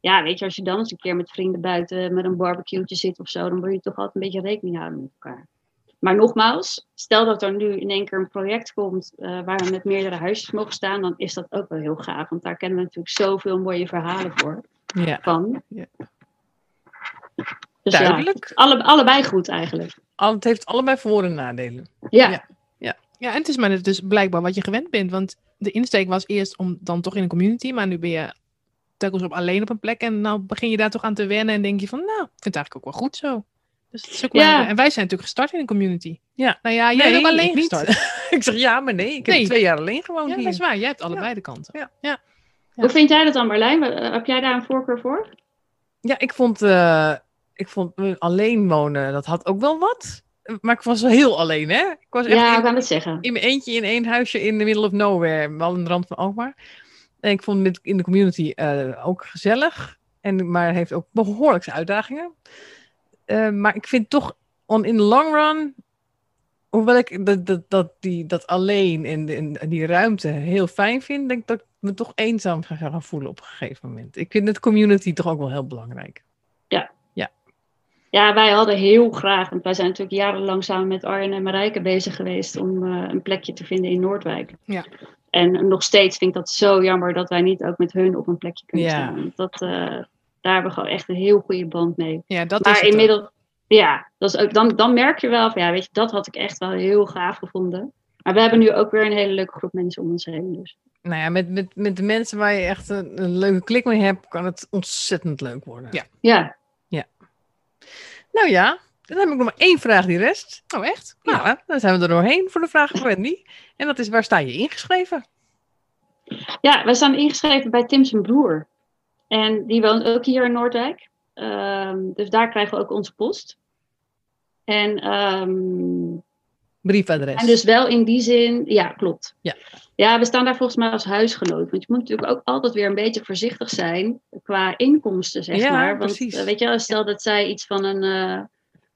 S3: Ja, weet je, als je dan eens een keer met vrienden buiten met een barbecue'tje zit of zo, dan moet je toch altijd een beetje rekening houden met elkaar. Maar nogmaals, stel dat er nu in één keer een project komt eh, waar we met meerdere huisjes mogen staan, dan is dat ook wel heel gaaf. Want daar kennen we natuurlijk zoveel mooie verhalen voor,
S2: Ja, Nou,
S3: van.
S1: Ja.
S3: Dus ja,
S2: duidelijk.
S3: alle, allebei goed eigenlijk.
S2: Al- Het heeft allebei voor- en nadelen.
S3: Ja,
S2: Ja.
S1: Ja, en het is maar dus blijkbaar wat je gewend bent. Want de insteek was eerst om dan toch in een community, maar nu ben je telkens op alleen op een plek. En nou begin je daar toch aan te wennen en denk je van, nou, ik vind het eigenlijk ook wel goed zo. Dus het is ook wel-
S3: Ja.
S1: En wij zijn natuurlijk gestart in een community.
S2: Ja.
S1: Nou ja, jij bent ook alleen
S2: ik niet.
S1: gestart.
S2: ik zeg ja, maar nee. Ik heb
S1: Nee.
S2: twee jaar alleen gewoond
S1: Ja,
S2: hier.
S1: dat is waar. Jij hebt allebei de kanten. Ja.
S3: Hoe vind jij dat dan, Marlijn? Wa- eh, Heb jij daar een voorkeur voor?
S2: Ja, ik vond, eh, ik vond eh, alleen wonen, dat had ook wel wat. Maar ik was wel heel alleen, hè? Ik was echt
S3: Ja,
S2: in-
S3: ik wou het zeggen.
S2: in mijn eentje in één huisje in de middle of nowhere, wel aan de rand van Alkmaar. En ik vond het in de community eh, ook gezellig, en, maar heeft ook behoorlijk zijn uitdagingen. Eh, maar ik vind toch, on, in de long run, hoewel ik dat, dat, dat, die, dat alleen en, en, en die ruimte heel fijn vind, denk ik dat ik me toch eenzaam ga gaan voelen op een gegeven moment. Ik vind het community toch ook wel heel belangrijk.
S3: Ja, wij hadden heel graag, want wij zijn natuurlijk jarenlang samen met Arjen en Marijke bezig geweest om eh, een plekje te vinden in Noordwijk.
S1: Ja.
S3: En nog steeds vind ik dat zo jammer dat wij niet ook met hun op een plekje kunnen
S2: Ja.
S3: staan. Want Dat, eh, daar hebben we gewoon echt een heel goede band mee.
S1: Ja, dat is
S3: maar
S1: het ook.
S3: inmiddels, ja, dat is ook, dan, dan merk je wel van ja, weet je, dat had ik echt wel heel gaaf gevonden. Maar we hebben nu ook weer een hele leuke groep mensen om ons heen. Dus.
S2: Nou ja, met, met, met de mensen waar je echt een, een leuke klik mee hebt, kan het ontzettend leuk worden.
S1: Ja.
S3: Ja,
S2: Nou ja, dan heb ik nog maar één vraag die rest.
S1: Oh, echt? Nou,
S2: Nou, dan zijn we er doorheen voor de vraag van Wendy. En dat is, waar sta je ingeschreven?
S3: Ja, wij staan ingeschreven bij Tim zijn broer. En die woont ook hier in Noordwijk. Ehm, dus daar krijgen we ook onze post. En, ehm,
S2: Briefadres.
S3: en dus wel in die zin, ja, klopt.
S2: Ja.
S3: ja, we staan daar volgens mij als huisgenoot. Want je moet natuurlijk ook altijd weer een beetje voorzichtig zijn qua inkomsten, zeg
S2: Ja,
S3: maar. Want
S2: precies.
S3: eh, weet je, wel, stel dat zij iets van een, eh,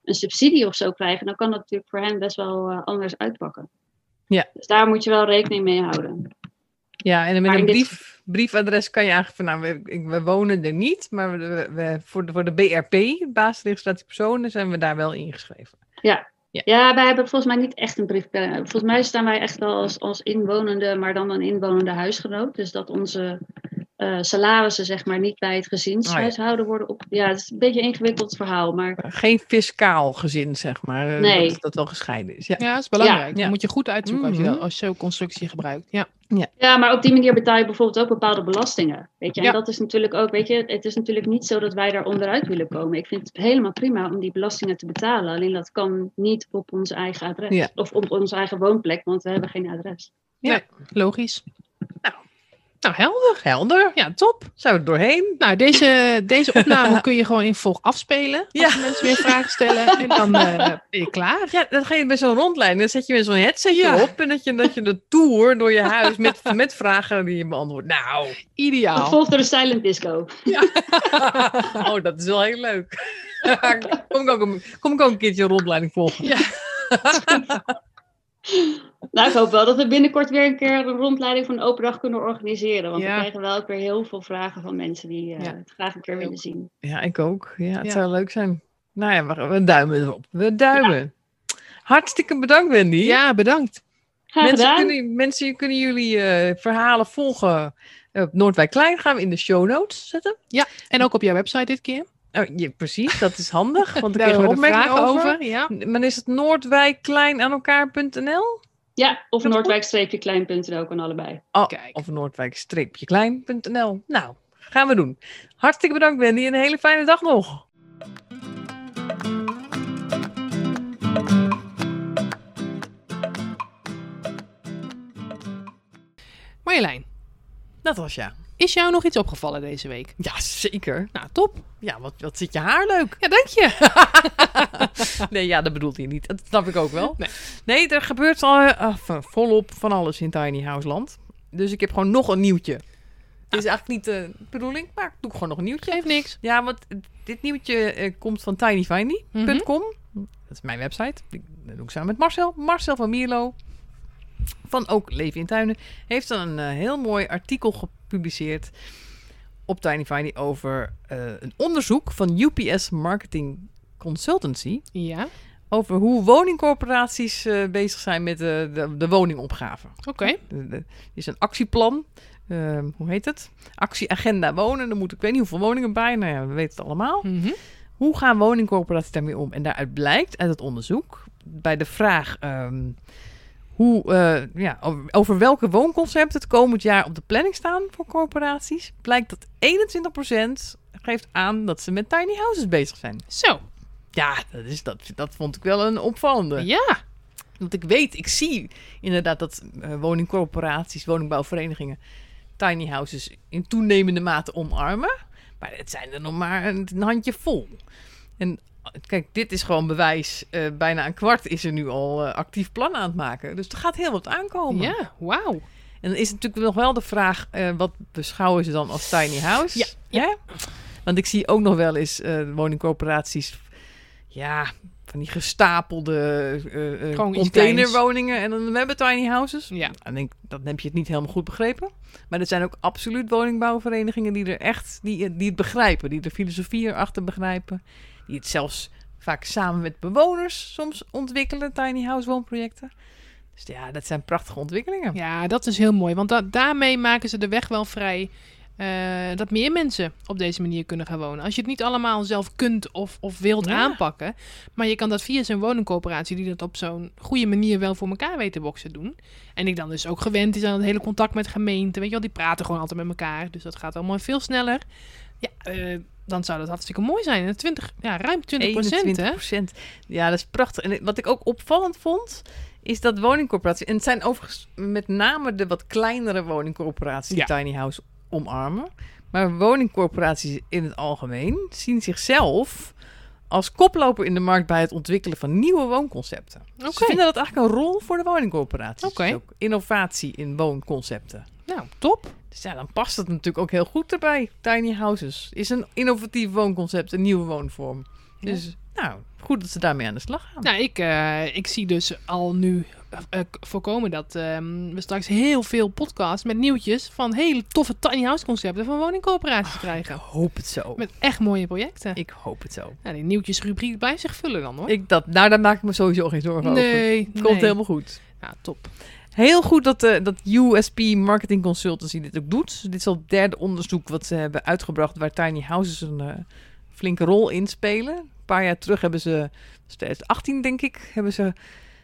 S3: een subsidie of zo krijgen, dan kan dat natuurlijk voor hen best wel eh, anders uitpakken.
S2: Ja.
S3: Dus daar moet je wel rekening mee houden.
S2: ja, en dan met
S3: Maar
S2: een
S3: in dit-
S2: brief, briefadres kan je eigenlijk van, nou, we, ik- we wonen er niet, maar we, we- we- voor, de, voor de BRP, basisregistratie personen, zijn we daar wel ingeschreven.
S3: Ja, wij hebben volgens mij niet echt een brief. Volgens mij staan wij echt wel als, als inwonende, maar dan een inwonende huisgenoot. Dus dat onze eh, salarissen zeg maar niet bij het gezinshuishouden worden op. Ja, het is een beetje een ingewikkeld verhaal, maar
S2: Geen fiscaal gezin, zeg maar, eh,
S3: Nee.
S2: dat, dat wel gescheiden is. Ja.
S1: ja, dat is belangrijk.
S2: Ja.
S1: Dat moet je goed uitzoeken als je, dat,
S2: Mhm.
S1: als je zo'n constructie gebruikt. Ja.
S3: ja, maar op die manier betaal je bijvoorbeeld ook bepaalde belastingen, weet je. En
S1: Ja.
S3: dat is natuurlijk ook, weet je, het is natuurlijk niet zo dat wij daar onderuit willen komen. Ik vind het helemaal prima om die belastingen te betalen, alleen dat kan niet op ons eigen adres
S2: Ja.
S3: of op onze eigen woonplek, want we hebben geen adres.
S1: Logisch.
S2: Nou.
S1: nou helder.
S2: Helder,
S1: Ja, top.
S2: zijn we er doorheen.
S1: Nou, deze, deze opname kun je gewoon in volg afspelen. Als
S2: Ja.
S1: mensen weer vragen stellen. En dan eh, ben je klaar.
S2: Ja, dan ga je met zo'n rondleiding. Dan zet je met zo'n headsetje
S1: Ja.
S2: op. En dat je, dat je de tour door je huis met, met vragen die je beantwoordt. Nou,
S1: Ideaal.
S3: Gevolgd door de silent disco.
S2: oh, dat is wel heel leuk. kom, ik ook een, kom ik ook een keertje een rondleiding volgen.
S3: Nou, ik hoop wel dat we binnenkort weer een keer een rondleiding van een open dag kunnen organiseren. Want
S1: Ja.
S3: we krijgen wel ook weer heel veel vragen van mensen die eh,
S1: Ja.
S3: het graag een keer
S1: Leuk.
S3: willen zien.
S2: Ja, ik ook. Ja, het
S1: Ja.
S2: zou leuk zijn. Nou ja, we, we duimen erop. We duimen. Hartstikke bedankt, Wendy.
S1: Ja, bedankt.
S3: Graag
S2: mensen,
S3: gedaan.
S2: kunnen, mensen kunnen jullie eh, verhalen volgen eh, op Noordwijk Klein. Gaan we in de show notes zetten.
S1: En ook op jouw website dit keer.
S2: Oh, ja, precies, dat is handig, want ik
S1: Daar
S2: kreeg een
S1: hebben we de
S2: opmerking
S1: vragen
S2: over.
S1: over. Ja.
S2: Maar is het noordwijkkleinaanelkaar.nl?
S3: Ja, of
S2: Dat is
S3: noordwijk-klein.nl kan allebei.
S2: Oh,
S1: Kijk.
S2: Of noordwijk-klein.nl. Nou, gaan we doen. Hartstikke bedankt Wendy en een hele fijne dag nog.
S1: Marjolein,
S2: Dat was ja.
S1: is jou nog iets opgevallen deze week?
S2: Ja, zeker.
S1: Nou, top.
S2: Ja, wat, wat zit je haar leuk.
S1: Ja, dank je.
S2: nee, ja, dat bedoelt hij niet. Dat snap ik ook wel.
S1: Nee.
S2: Nee, er gebeurt al eh, van- volop van alles in Tiny House Land. Dus ik heb gewoon nog een nieuwtje. Het is eigenlijk niet de bedoeling, maar doe ik gewoon nog een nieuwtje.
S1: Geeft niks.
S2: Ja, want dit nieuwtje eh, komt van tinyfindy.com.
S1: Mhm.
S2: Dat is mijn website. Ik- Dat doe ik samen met Marcel. Marcel van Mierlo. Van ook Leven in Tuinen. Heeft dan een eh, heel mooi artikel gepubliceerd op tinyfindy over eh, een onderzoek van UPS Marketing Consultancy.
S1: Ja,
S2: Over hoe woningcorporaties eh, bezig zijn met eh, de, de woningopgave.
S1: oké.
S2: Er er is een actieplan. eh, hoe heet het? Actieagenda wonen. Dan moet ik weet niet hoeveel woningen bij. Nou ja, we weten het allemaal.
S1: Mhm.
S2: Hoe gaan woningcorporaties daarmee om? En daaruit blijkt uit het onderzoek bij de vraag ehm, hoe, eh, ja, over, over welke woonconcepten het komend jaar op de planning staan voor corporaties, blijkt dat 21% geeft aan dat ze met tiny houses bezig zijn.
S1: Zo,
S2: Ja, dat, is, dat, dat vond ik wel een opvallende.
S1: ja.
S2: Want ik weet, ik zie inderdaad dat eh, woningcorporaties, woningbouwverenigingen, tiny houses in toenemende mate omarmen. Maar het zijn er nog maar een, een handje vol. En eh, kijk, dit is gewoon bewijs. eh, bijna een kwart is er nu al eh, actief plan aan het maken. Dus er gaat heel wat aankomen.
S1: Ja, wauw.
S2: En dan is natuurlijk nog wel de vraag, eh, wat beschouwen ze dan als tiny house?
S1: Ja,
S2: Hè? Want ik zie ook nog wel eens eh, woningcorporaties, ja, van die gestapelde eh, eh,
S1: Gewoon iets
S2: containerwoningen. En dan we hebben tiny houses.
S1: Ja.
S2: En ik denk, dan heb je het niet helemaal goed begrepen. Maar er zijn ook absoluut woningbouwverenigingen die er echt, die, eh, die het begrijpen. Die de filosofie erachter begrijpen. Die het zelfs vaak samen met bewoners soms ontwikkelen, tiny house woonprojecten. Dus ja, dat zijn prachtige ontwikkelingen.
S1: Ja, dat is heel mooi. Want da- daarmee maken ze de weg wel vrij. eh, dat meer mensen op deze manier kunnen gaan wonen. Als je het niet allemaal zelf kunt of, of wilt
S2: Ja.
S1: aanpakken. Maar je kan dat via zo'n woningcoöperatie, die dat op zo'n goede manier wel voor elkaar weet te boksen doen. En ik dan dus ook gewend is aan het hele contact met gemeenten. Weet je wel, die praten gewoon altijd met elkaar. Dus dat gaat allemaal veel sneller. Ja, eh, dan zou dat hartstikke mooi zijn. En 20, ja, ruim 20 procent, hè?
S2: 21%. Ja, dat is prachtig. En wat ik ook opvallend vond, is dat woningcorporaties... En het zijn overigens met name de wat kleinere woningcorporaties... die tiny house omarmen. Maar woningcorporaties in het algemeen zien zichzelf... als koploper in de markt bij het ontwikkelen van nieuwe woonconcepten.
S1: Oké.
S2: Ze vinden dat eigenlijk een rol voor de woningcorporaties.
S1: Oké.
S2: Dus ook innovatie in woonconcepten.
S1: Nou, top.
S2: Dus ja, dan past het natuurlijk ook heel goed erbij. Tiny houses is een innovatief woonconcept, een nieuwe woonvorm.
S1: Ja.
S2: Dus nou, goed dat ze daarmee aan de slag gaan.
S1: Nou, ik, eh, ik zie dus al nu eh, k- voorkomen dat ehm, we straks heel veel podcasts met nieuwtjes van hele toffe tiny house concepten van woningcoöperaties
S2: ik
S1: krijgen.
S2: hoop het zo.
S1: Met echt mooie projecten.
S2: Ik hoop het zo.
S1: Nou, die nieuwtjesrubriek blijft zich vullen dan hoor.
S2: Ik dat, nou, daar maak ik me sowieso geen zorgen over.
S1: nee,
S2: Het
S1: nee.
S2: komt helemaal goed.
S1: Ja, top.
S2: Heel goed dat, eh, dat USP Marketing Consultancy dit ook doet. Dit is al het derde onderzoek wat ze hebben uitgebracht... waar tiny houses een eh, flinke rol in spelen. Een paar jaar terug hebben ze, 2018 denk ik... hebben ze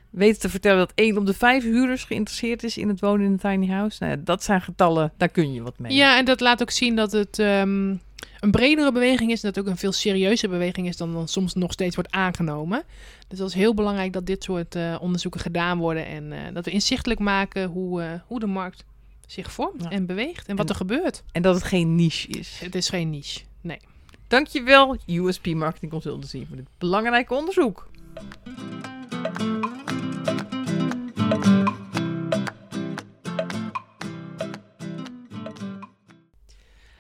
S2: weten te vertellen dat één op de vijf huurders... geïnteresseerd is in het wonen in een tiny house. Nou, ja, dat zijn getallen, daar kun je wat mee.
S1: Ja, en dat laat ook zien dat het ehm, een bredere beweging is. En dat het ook een veel serieuze beweging is dan, dan soms nog steeds wordt aangenomen. Dus dat is heel belangrijk dat dit soort eh, onderzoeken gedaan worden. En eh, dat we inzichtelijk maken hoe, eh, hoe de markt zich vormt
S2: Ja.
S1: en beweegt. En wat
S2: En-
S1: er gebeurt.
S2: En dat het geen niche is.
S1: Het is geen niche. Nee.
S2: Dankjewel USP Marketing Consultancy voor dit belangrijke onderzoek.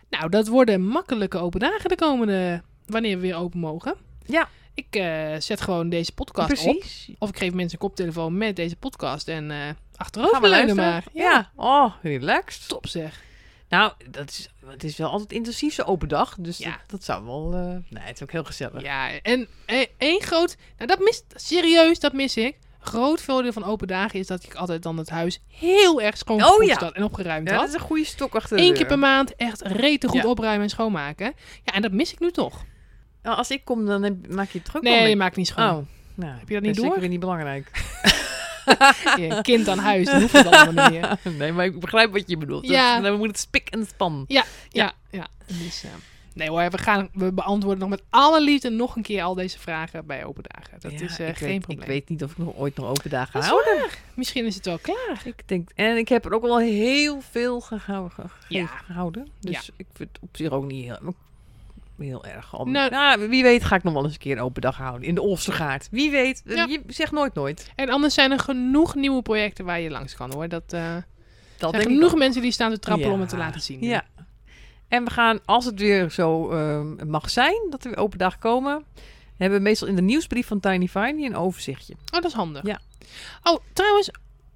S1: Nou, dat worden makkelijke open dagen de komende... wanneer we weer open mogen.
S2: Ja.
S1: Ik eh, zet gewoon deze podcast op.
S2: Precies.
S1: Of ik geef mensen een koptelefoon met deze podcast. En eh
S2: Gaan we
S1: achterover leunen
S2: luisteren?
S1: maar.
S2: Ja. Oh, relaxed.
S1: Top zeg.
S2: Nou, dat is, het is wel altijd intensief zo'n open dag. Dus
S1: Ja.
S2: dat, dat zou wel... eh, nee, het is ook heel gezellig.
S1: Ja, en eh, één groot... Nou, dat mist... Serieus, dat mis ik. groot voordeel van open dagen is dat ik altijd dan het huis heel erg schoon
S2: Oh,
S1: gepoetst
S2: ja.
S1: had en opgeruimd
S2: Ja, dat
S1: had.
S2: is een goede stok achter de
S1: Eén keer
S2: deur.
S1: per maand echt rete goed
S2: Ja.
S1: opruimen en schoonmaken. Ja, en dat mis ik nu toch.
S2: Nou, als ik kom, dan heb- maak je het druk
S1: Nee,
S2: om
S1: je
S2: ik-
S1: maakt niet schoon.
S2: Oh, nou,
S1: Heb je dat niet
S2: is
S1: door?
S2: zeker weer niet belangrijk. Oh.
S1: Je een kind aan huis, dat hoeft het allemaal niet meer. Ja,
S2: nee, maar ik begrijp wat je bedoelt.
S1: Ja.
S2: Dus, dan moet het spik en span.
S1: ja. Dus, eh, nee hoor, we, gaan, we beantwoorden nog met alle liefde nog een keer al deze vragen bij open dagen. Dat
S2: Ja,
S1: is eh,
S2: ik
S1: geen
S2: weet,
S1: probleem.
S2: Ik weet niet of ik nog ooit nog open dagen
S1: Dat is
S2: hou.
S1: Misschien is het wel klaar.
S2: Ik denk, en ik heb er ook wel heel veel gehou- ge- ge-
S1: Ja.
S2: gehouden. Dus ik vind het op zich ook niet heel, heel erg. Om,
S1: Nou-
S2: nou, wie weet ga ik nog wel eens een keer een open dag houden. In de Olstergaard. Wie weet.
S1: Ja.
S2: Je zegt nooit nooit.
S1: En anders zijn er genoeg nieuwe projecten waar je langs kan hoor. Dat, eh,
S2: Dat
S1: er zijn
S2: denk
S1: genoeg
S2: ik
S1: mensen die staan te trappelen om het te
S2: Ja.
S1: laten zien.
S2: ook. Ja. En we gaan, als het weer zo ehm, mag zijn, dat er weer open dag komen... hebben we meestal in de nieuwsbrief van Tiny Fine een overzichtje.
S1: Oh, dat is handig.
S2: Ja.
S1: Oh, trouwens,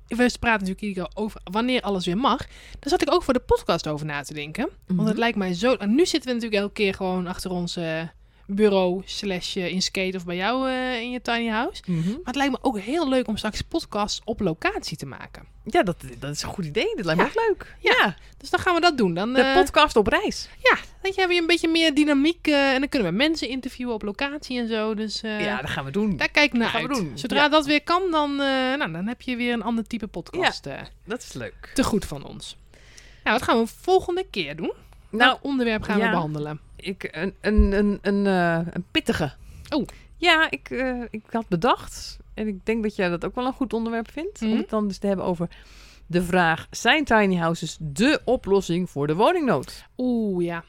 S1: we praten natuurlijk iedere keer over wanneer alles weer mag. Daar zat ik ook voor de podcast over na te denken. Want
S2: Mhm.
S1: het lijkt mij zo... en nu zitten we natuurlijk elke keer gewoon achter ons eh, bureau slash eh, in skate of bij jou eh, in je tiny house.
S2: Mhm.
S1: Maar het lijkt me ook heel leuk om straks podcasts op locatie te maken.
S2: Ja, dat, dat is een goed idee. Dat lijkt me ook leuk.
S1: Ja.
S2: Ja,
S1: Dus dan gaan we dat doen. Dan,
S2: de
S1: eh,
S2: podcast op reis.
S1: Ja, dan hebben we een beetje meer dynamiek. eh, en dan kunnen we mensen interviewen op locatie en zo. Dus eh,
S2: ja, dat gaan we doen.
S1: daar kijk ik naar
S2: gaan we
S1: uit.
S2: doen.
S1: Zodra dat weer kan, dan, eh, nou, dan heb je weer een ander type podcast eh,
S2: Dat is leuk.
S1: te goed van ons. Nou, wat gaan we volgende keer doen?
S2: Nou,
S1: Welk onderwerp gaan we
S2: ja.
S1: behandelen?
S2: Ik, een, een, een, een, eh, een pittige.
S1: Oh.
S2: Ja, ik, eh, ik had bedacht, en ik denk dat jij dat ook wel een goed onderwerp vindt,
S1: Mhm.
S2: om het dan dus te hebben over de vraag, zijn tiny houses de oplossing voor de woningnood?
S1: Oeh, ja.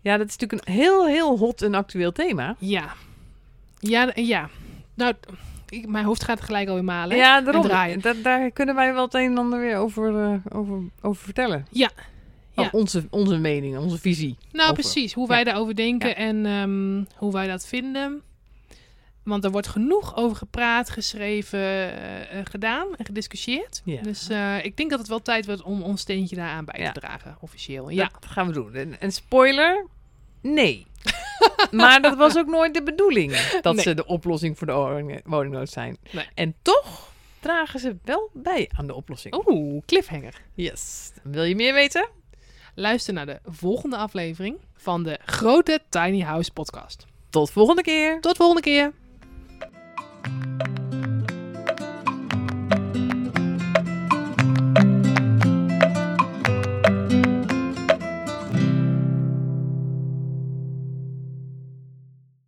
S2: Ja, dat is natuurlijk een heel, heel hot en actueel thema.
S1: Ja. Ja, eh, ja. Nou, ik, mijn hoofd gaat gelijk al in malen.
S2: Ja, daarom.
S1: draaien.
S2: Daar, daar kunnen wij wel het een en ander weer over, eh, over, over vertellen.
S1: Ja.
S2: Of
S1: Ja.
S2: Onze, onze mening, onze visie.
S1: Nou,
S2: Over.
S1: precies. Hoe wij daarover denken
S2: Ja.
S1: en ehm, hoe wij dat vinden. Want er wordt genoeg over gepraat, geschreven, eh, eh, gedaan en gediscussieerd.
S2: Ja.
S1: Dus eh, ik denk dat het wel tijd wordt om ons steentje daaraan bij te
S2: Ja.
S1: dragen, officieel. Ja.
S2: Dat gaan we doen. En, en spoiler, nee. maar dat was ook nooit de bedoeling. Dat
S1: Nee.
S2: ze de oplossing voor de woning- woningnood zijn.
S1: Nee.
S2: En toch dragen ze wel bij aan de oplossing.
S1: Oeh, cliffhanger.
S2: Yes. Wil je meer weten?
S1: Luister naar de volgende aflevering van de grote Tiny House podcast.
S2: Tot volgende keer.
S1: Tot volgende keer.